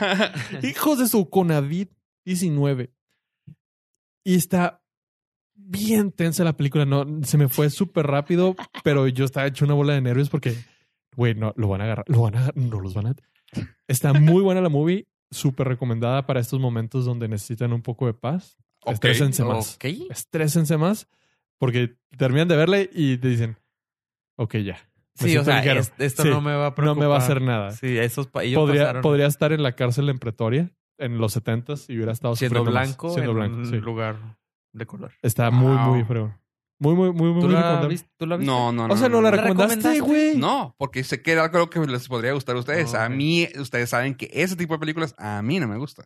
hijos de su Conavit 19. Y está bien tensa la película. No, se me fue súper rápido, pero yo estaba hecho una bola de nervios porque, güey, no, lo van a agarrar, lo van a agarrar, no los van a. Está muy buena la movie, súper recomendada para estos momentos donde necesitan un poco de paz.
Ok.
Estrésense más.
ok.
Estrésense más porque terminan de verle y te dicen, ok, ya. Me
Sí,
siento
o sea,
ligero.
es- esto
Sí,
no me va a
No
preocupar.
me va a hacer nada.
Sí, esos pa- ellos
Podría,
pasaron
podría estar en la cárcel en Pretoria en los 70 y hubiera estado
siendo
sufriendo más.
blanco
Siendo
en
blanco,
un
sí.
lugar de color.
Está muy,
Wow.
muy feo. Muy, muy, muy, muy
¿Tú la,
recomendable.
viste? ¿Tú la viste?
No, no, no.
O sea, no la
¿La
recomendaste,
recomendaste?
güey.
No, porque sé que era algo que les podría gustar a ustedes.
Ah,
A
ok.
mí, ustedes saben que ese tipo de películas a mí no me gusta.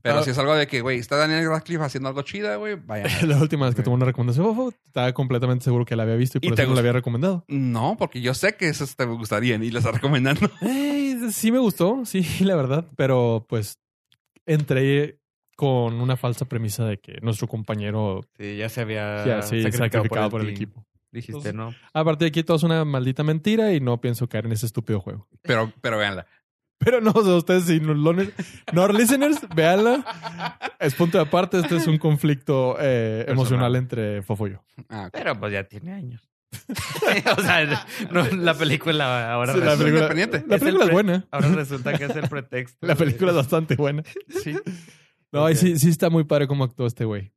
Pero
Ah.
si es algo de que, güey, está Daniel Radcliffe haciendo algo chida, güey, vaya.
La última vez que tuve una recomendación, oh, oh, estaba completamente seguro que la había visto y por
¿Y
eso
te
no la
gustó?
había recomendado.
No, porque yo sé que esas te gustarían y las está recomendando.
Eh, sí me gustó, sí, la verdad. Pero pues entré con una falsa premisa de que nuestro compañero
Sí, ya se había
ya sí, sacrificado, por el
team.
equipo.
Dijiste, no.
Aparte de aquí todo es una maldita mentira y no pienso caer en ese estúpido juego.
Pero, pero véanla.
Pero no, o sea, ustedes si no, lo ne- no listeners, véanla. Es punto de aparte, este es un conflicto eh, emocional entre Fofo y yo.
Ah, ok.
Pero pues ya tiene años. o sea, no, la película ahora,
Sí, la
resulta,
película,
independiente.
la
Es
película
el
es
pre-
buena.
ahora resulta que es el pretexto.
La película es bastante buena.
Sí.
No, y
Ok.
sí, sí está muy padre cómo actuó este güey.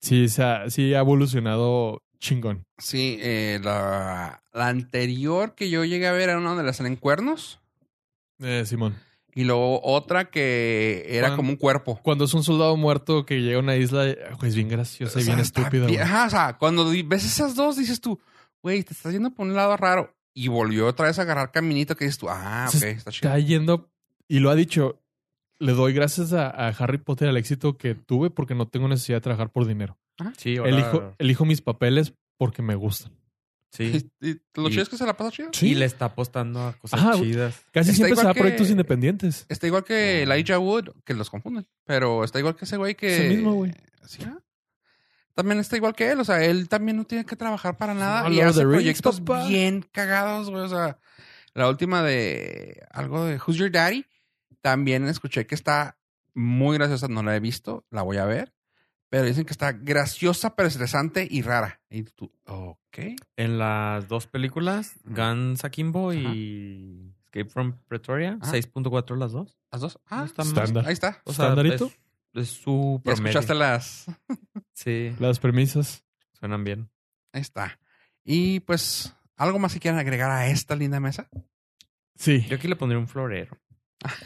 Sí, se ha, sí ha evolucionado chingón.
Sí, eh, la, la anterior que yo llegué a ver era una de las en cuernos.
Eh, Simón.
Y luego otra que era
Juan.
como un cuerpo.
Cuando es un soldado muerto que llega a una isla, eh, güey, es bien graciosa
O
y
sea,
bien
está
estúpida.
bien-
güey.
Ajá, o sea, cuando di- ves esas dos, dices tú, güey, te estás yendo por un lado raro. Y volvió otra vez a agarrar caminito que dices tú, ah, ok,
Se
está chido.
Está yendo, y lo ha dicho, le doy gracias a, a Harry Potter al éxito que tuve porque no tengo necesidad de trabajar por dinero.
Sí, ahora-
Elijo, elijo mis papeles porque me gustan.
Sí.
Y- y lo
Y-
chido es que se la pasa chido.
Y le está apostando a cosas
Ajá.
chidas.
Casi
Está
siempre se
igual
da
que-
proyectos independientes.
Está igual que
Ah.
Elijah Wood, que los confunden. Pero está igual que ese güey que.
Oh. Es el mismo, güey.
Sí, ¿ah? También está igual que él. O sea, él también no tiene que trabajar para nada.
No,
y
Lord of
hace
the Rings,
proyectos
papá.
bien cagados, güey. O sea, La última de algo de Who's Your Daddy, también escuché que está muy graciosa, no la he visto, la voy a ver, pero dicen que está graciosa, pero estresante y rara. Y tú, ok.
En las dos películas, Guns Akimbo y Escape from Pretoria,
Ajá.
6.4 las dos.
¿Las dos? Ah,
No está mal.
pues, Estándar.
ahí está.
O sea,
¿Standardito?
es, es su
Ya
promedio.
escuchaste las.
Sí,
Las premisas.
suenan bien.
Ahí está. Y pues, ¿algo más que quieran agregar a esta linda mesa?
Sí.
Yo aquí le pondría un florero.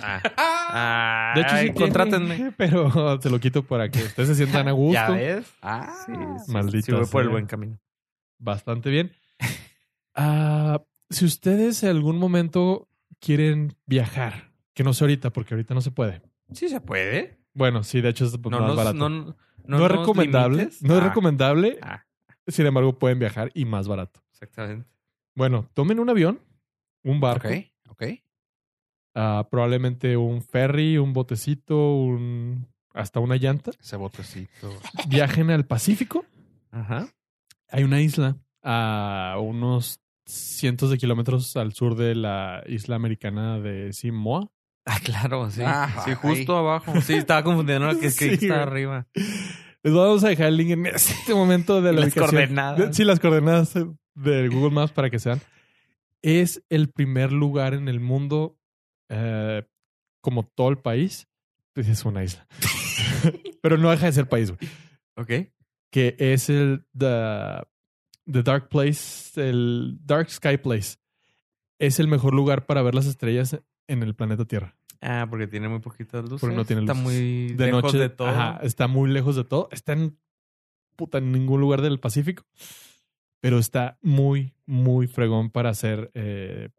Ah.
Ah,
De hecho, sí,
Ay, contrátenme.
tiene, Pero te lo quito para que ustedes se sientan a gusto.
¿Ya ves?
Ah,
Sí, sí,
Maldita
sí, voy por el
sea.
buen camino.
bastante bien. Ah, si ustedes en algún momento quieren viajar, que no sé ahorita, porque ahorita no se puede.
Sí se puede.
Bueno, sí, de hecho es
No,
más
nos-
barato.
no,
No,
no,
es
nos
recomendable.
limites.
No es
Ah,
recomendable.
ah,
Sin embargo, pueden viajar y más barato.
exactamente.
Bueno, tomen un avión, un
ok,
barco,
ok.
ah, probablemente un ferry, un botecito, un hasta una llanta.
Ese botecito.
Viajen al Pacífico.
Ajá.
Hay una isla a unos cientos de kilómetros al sur de la isla americana de Simoa.
Ah, claro, sí.
Ah,
sí,
ahí.
justo abajo. Sí, estaba confundiendo lo que escribí
Sí,
que estaba
güey.
arriba.
Les vamos a dejar el link en este momento de la
Las
ubicación.
coordenadas.
De- sí, las coordenadas de Google Maps para que sean. Es el primer lugar en el mundo, eh, como todo el país, pues es una isla. Pero no deja de ser país, güey.
Ok.
Que es el the, the Dark Place, el Dark Sky Place. Es el mejor lugar para ver las estrellas en el planeta Tierra.
Ah, porque tiene muy poquitas luces.
Porque no tiene
Está
luces.
muy
de
lejos
noche.
de todo.
Ajá, está muy lejos de todo. Está en puta en ningún lugar del Pacífico. Pero está muy, muy fregón para hacer eh,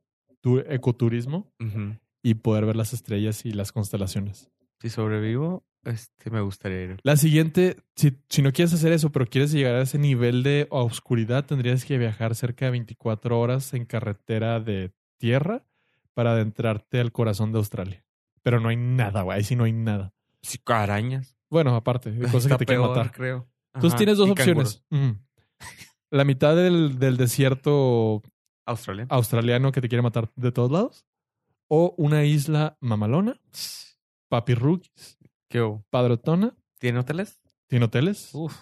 tu- ecoturismo
Ujú.
y poder ver las estrellas y las constelaciones.
Si sobrevivo, este me gustaría ir.
La siguiente, si, si no quieres hacer eso, pero quieres llegar a ese nivel de oscuridad, tendrías que viajar cerca de 24 horas en carretera de tierra para adentrarte al corazón de Australia. Pero no hay nada, güey. Ahí sí no hay nada.
Sí, arañas.
Bueno, aparte, hay cosas
Está
que te quieren
peor,
matar.
creo.
Entonces
Ajá,
tienes dos
y
opciones.
canguros.
Ujú. La mitad del, del desierto
Australia.
Ah. australiano que te quiere matar de todos lados. O una isla mamalona, papirruquis,
¿Qué hubo?
padrotona,
¿Tiene hoteles?
tiene hoteles.
Uf.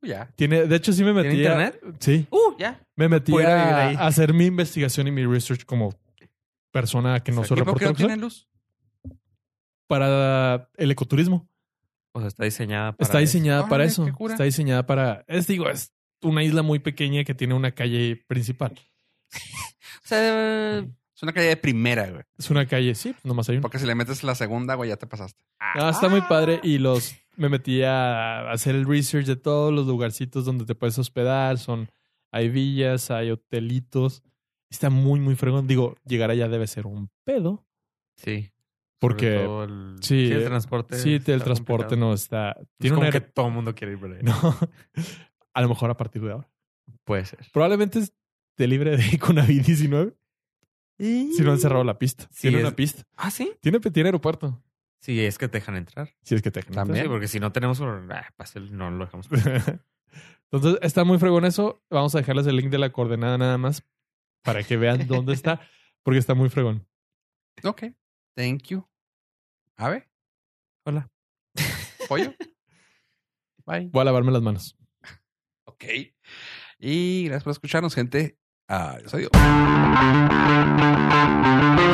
Ya.
Tiene, de hecho, sí me metí.
Uh. ¿Tiene
a-
internet?
Sí.
Uh, ya.
Me metí
Puedo ir
a,
ahí.
a hacer mi investigación y mi research como persona que no
Exacto.
soy
¿Y por qué
reportero
no
que soy,
tiene luz?
para el ecoturismo.
O sea, está diseñada para.
Está diseñada
Órale,
para eso.
qué cura.
Está diseñada para. Es digo, es una isla muy pequeña que tiene una calle principal.
O sea, es una calle de primera, güey.
Es una calle, sí, nomás hay una.
Porque si le metes la segunda, güey, ya te pasaste.
Ah, está muy padre y los me metí a hacer el research de todos los lugarcitos donde te puedes hospedar, son hay villas, hay hotelitos. Está muy muy fregón, digo, llegar allá debe ser un pedo
Sí.
porque
Sobre todo el-
sí,
el
eh,
transporte.
sí,
está
el transporte
complicado.
no está
Es
tiene un
como que
aer-
todo el mundo quiere ir para allá.
no. A lo mejor a partir de ahora.
Puede ser.
Probablemente esté libre de Conavid 19 si no han cerrado la pista.
Sí,
tiene
es-
una pista.
Ah, sí.
Tiene tiene aeropuerto.
Sí, es que te dejan entrar.
Si es que te
También.
Sí, porque si no tenemos un- ah, pase, no lo dejamos.
Entonces está muy fregón eso. Vamos a dejarles el link de la coordenada nada más para que vean dónde está, porque está muy fregón.
Ok. Thank you. Ave,
Hola.
pollo. Bye.
Voy a lavarme las manos.
Ok. Y gracias por escucharnos, gente. Adiós. adiós.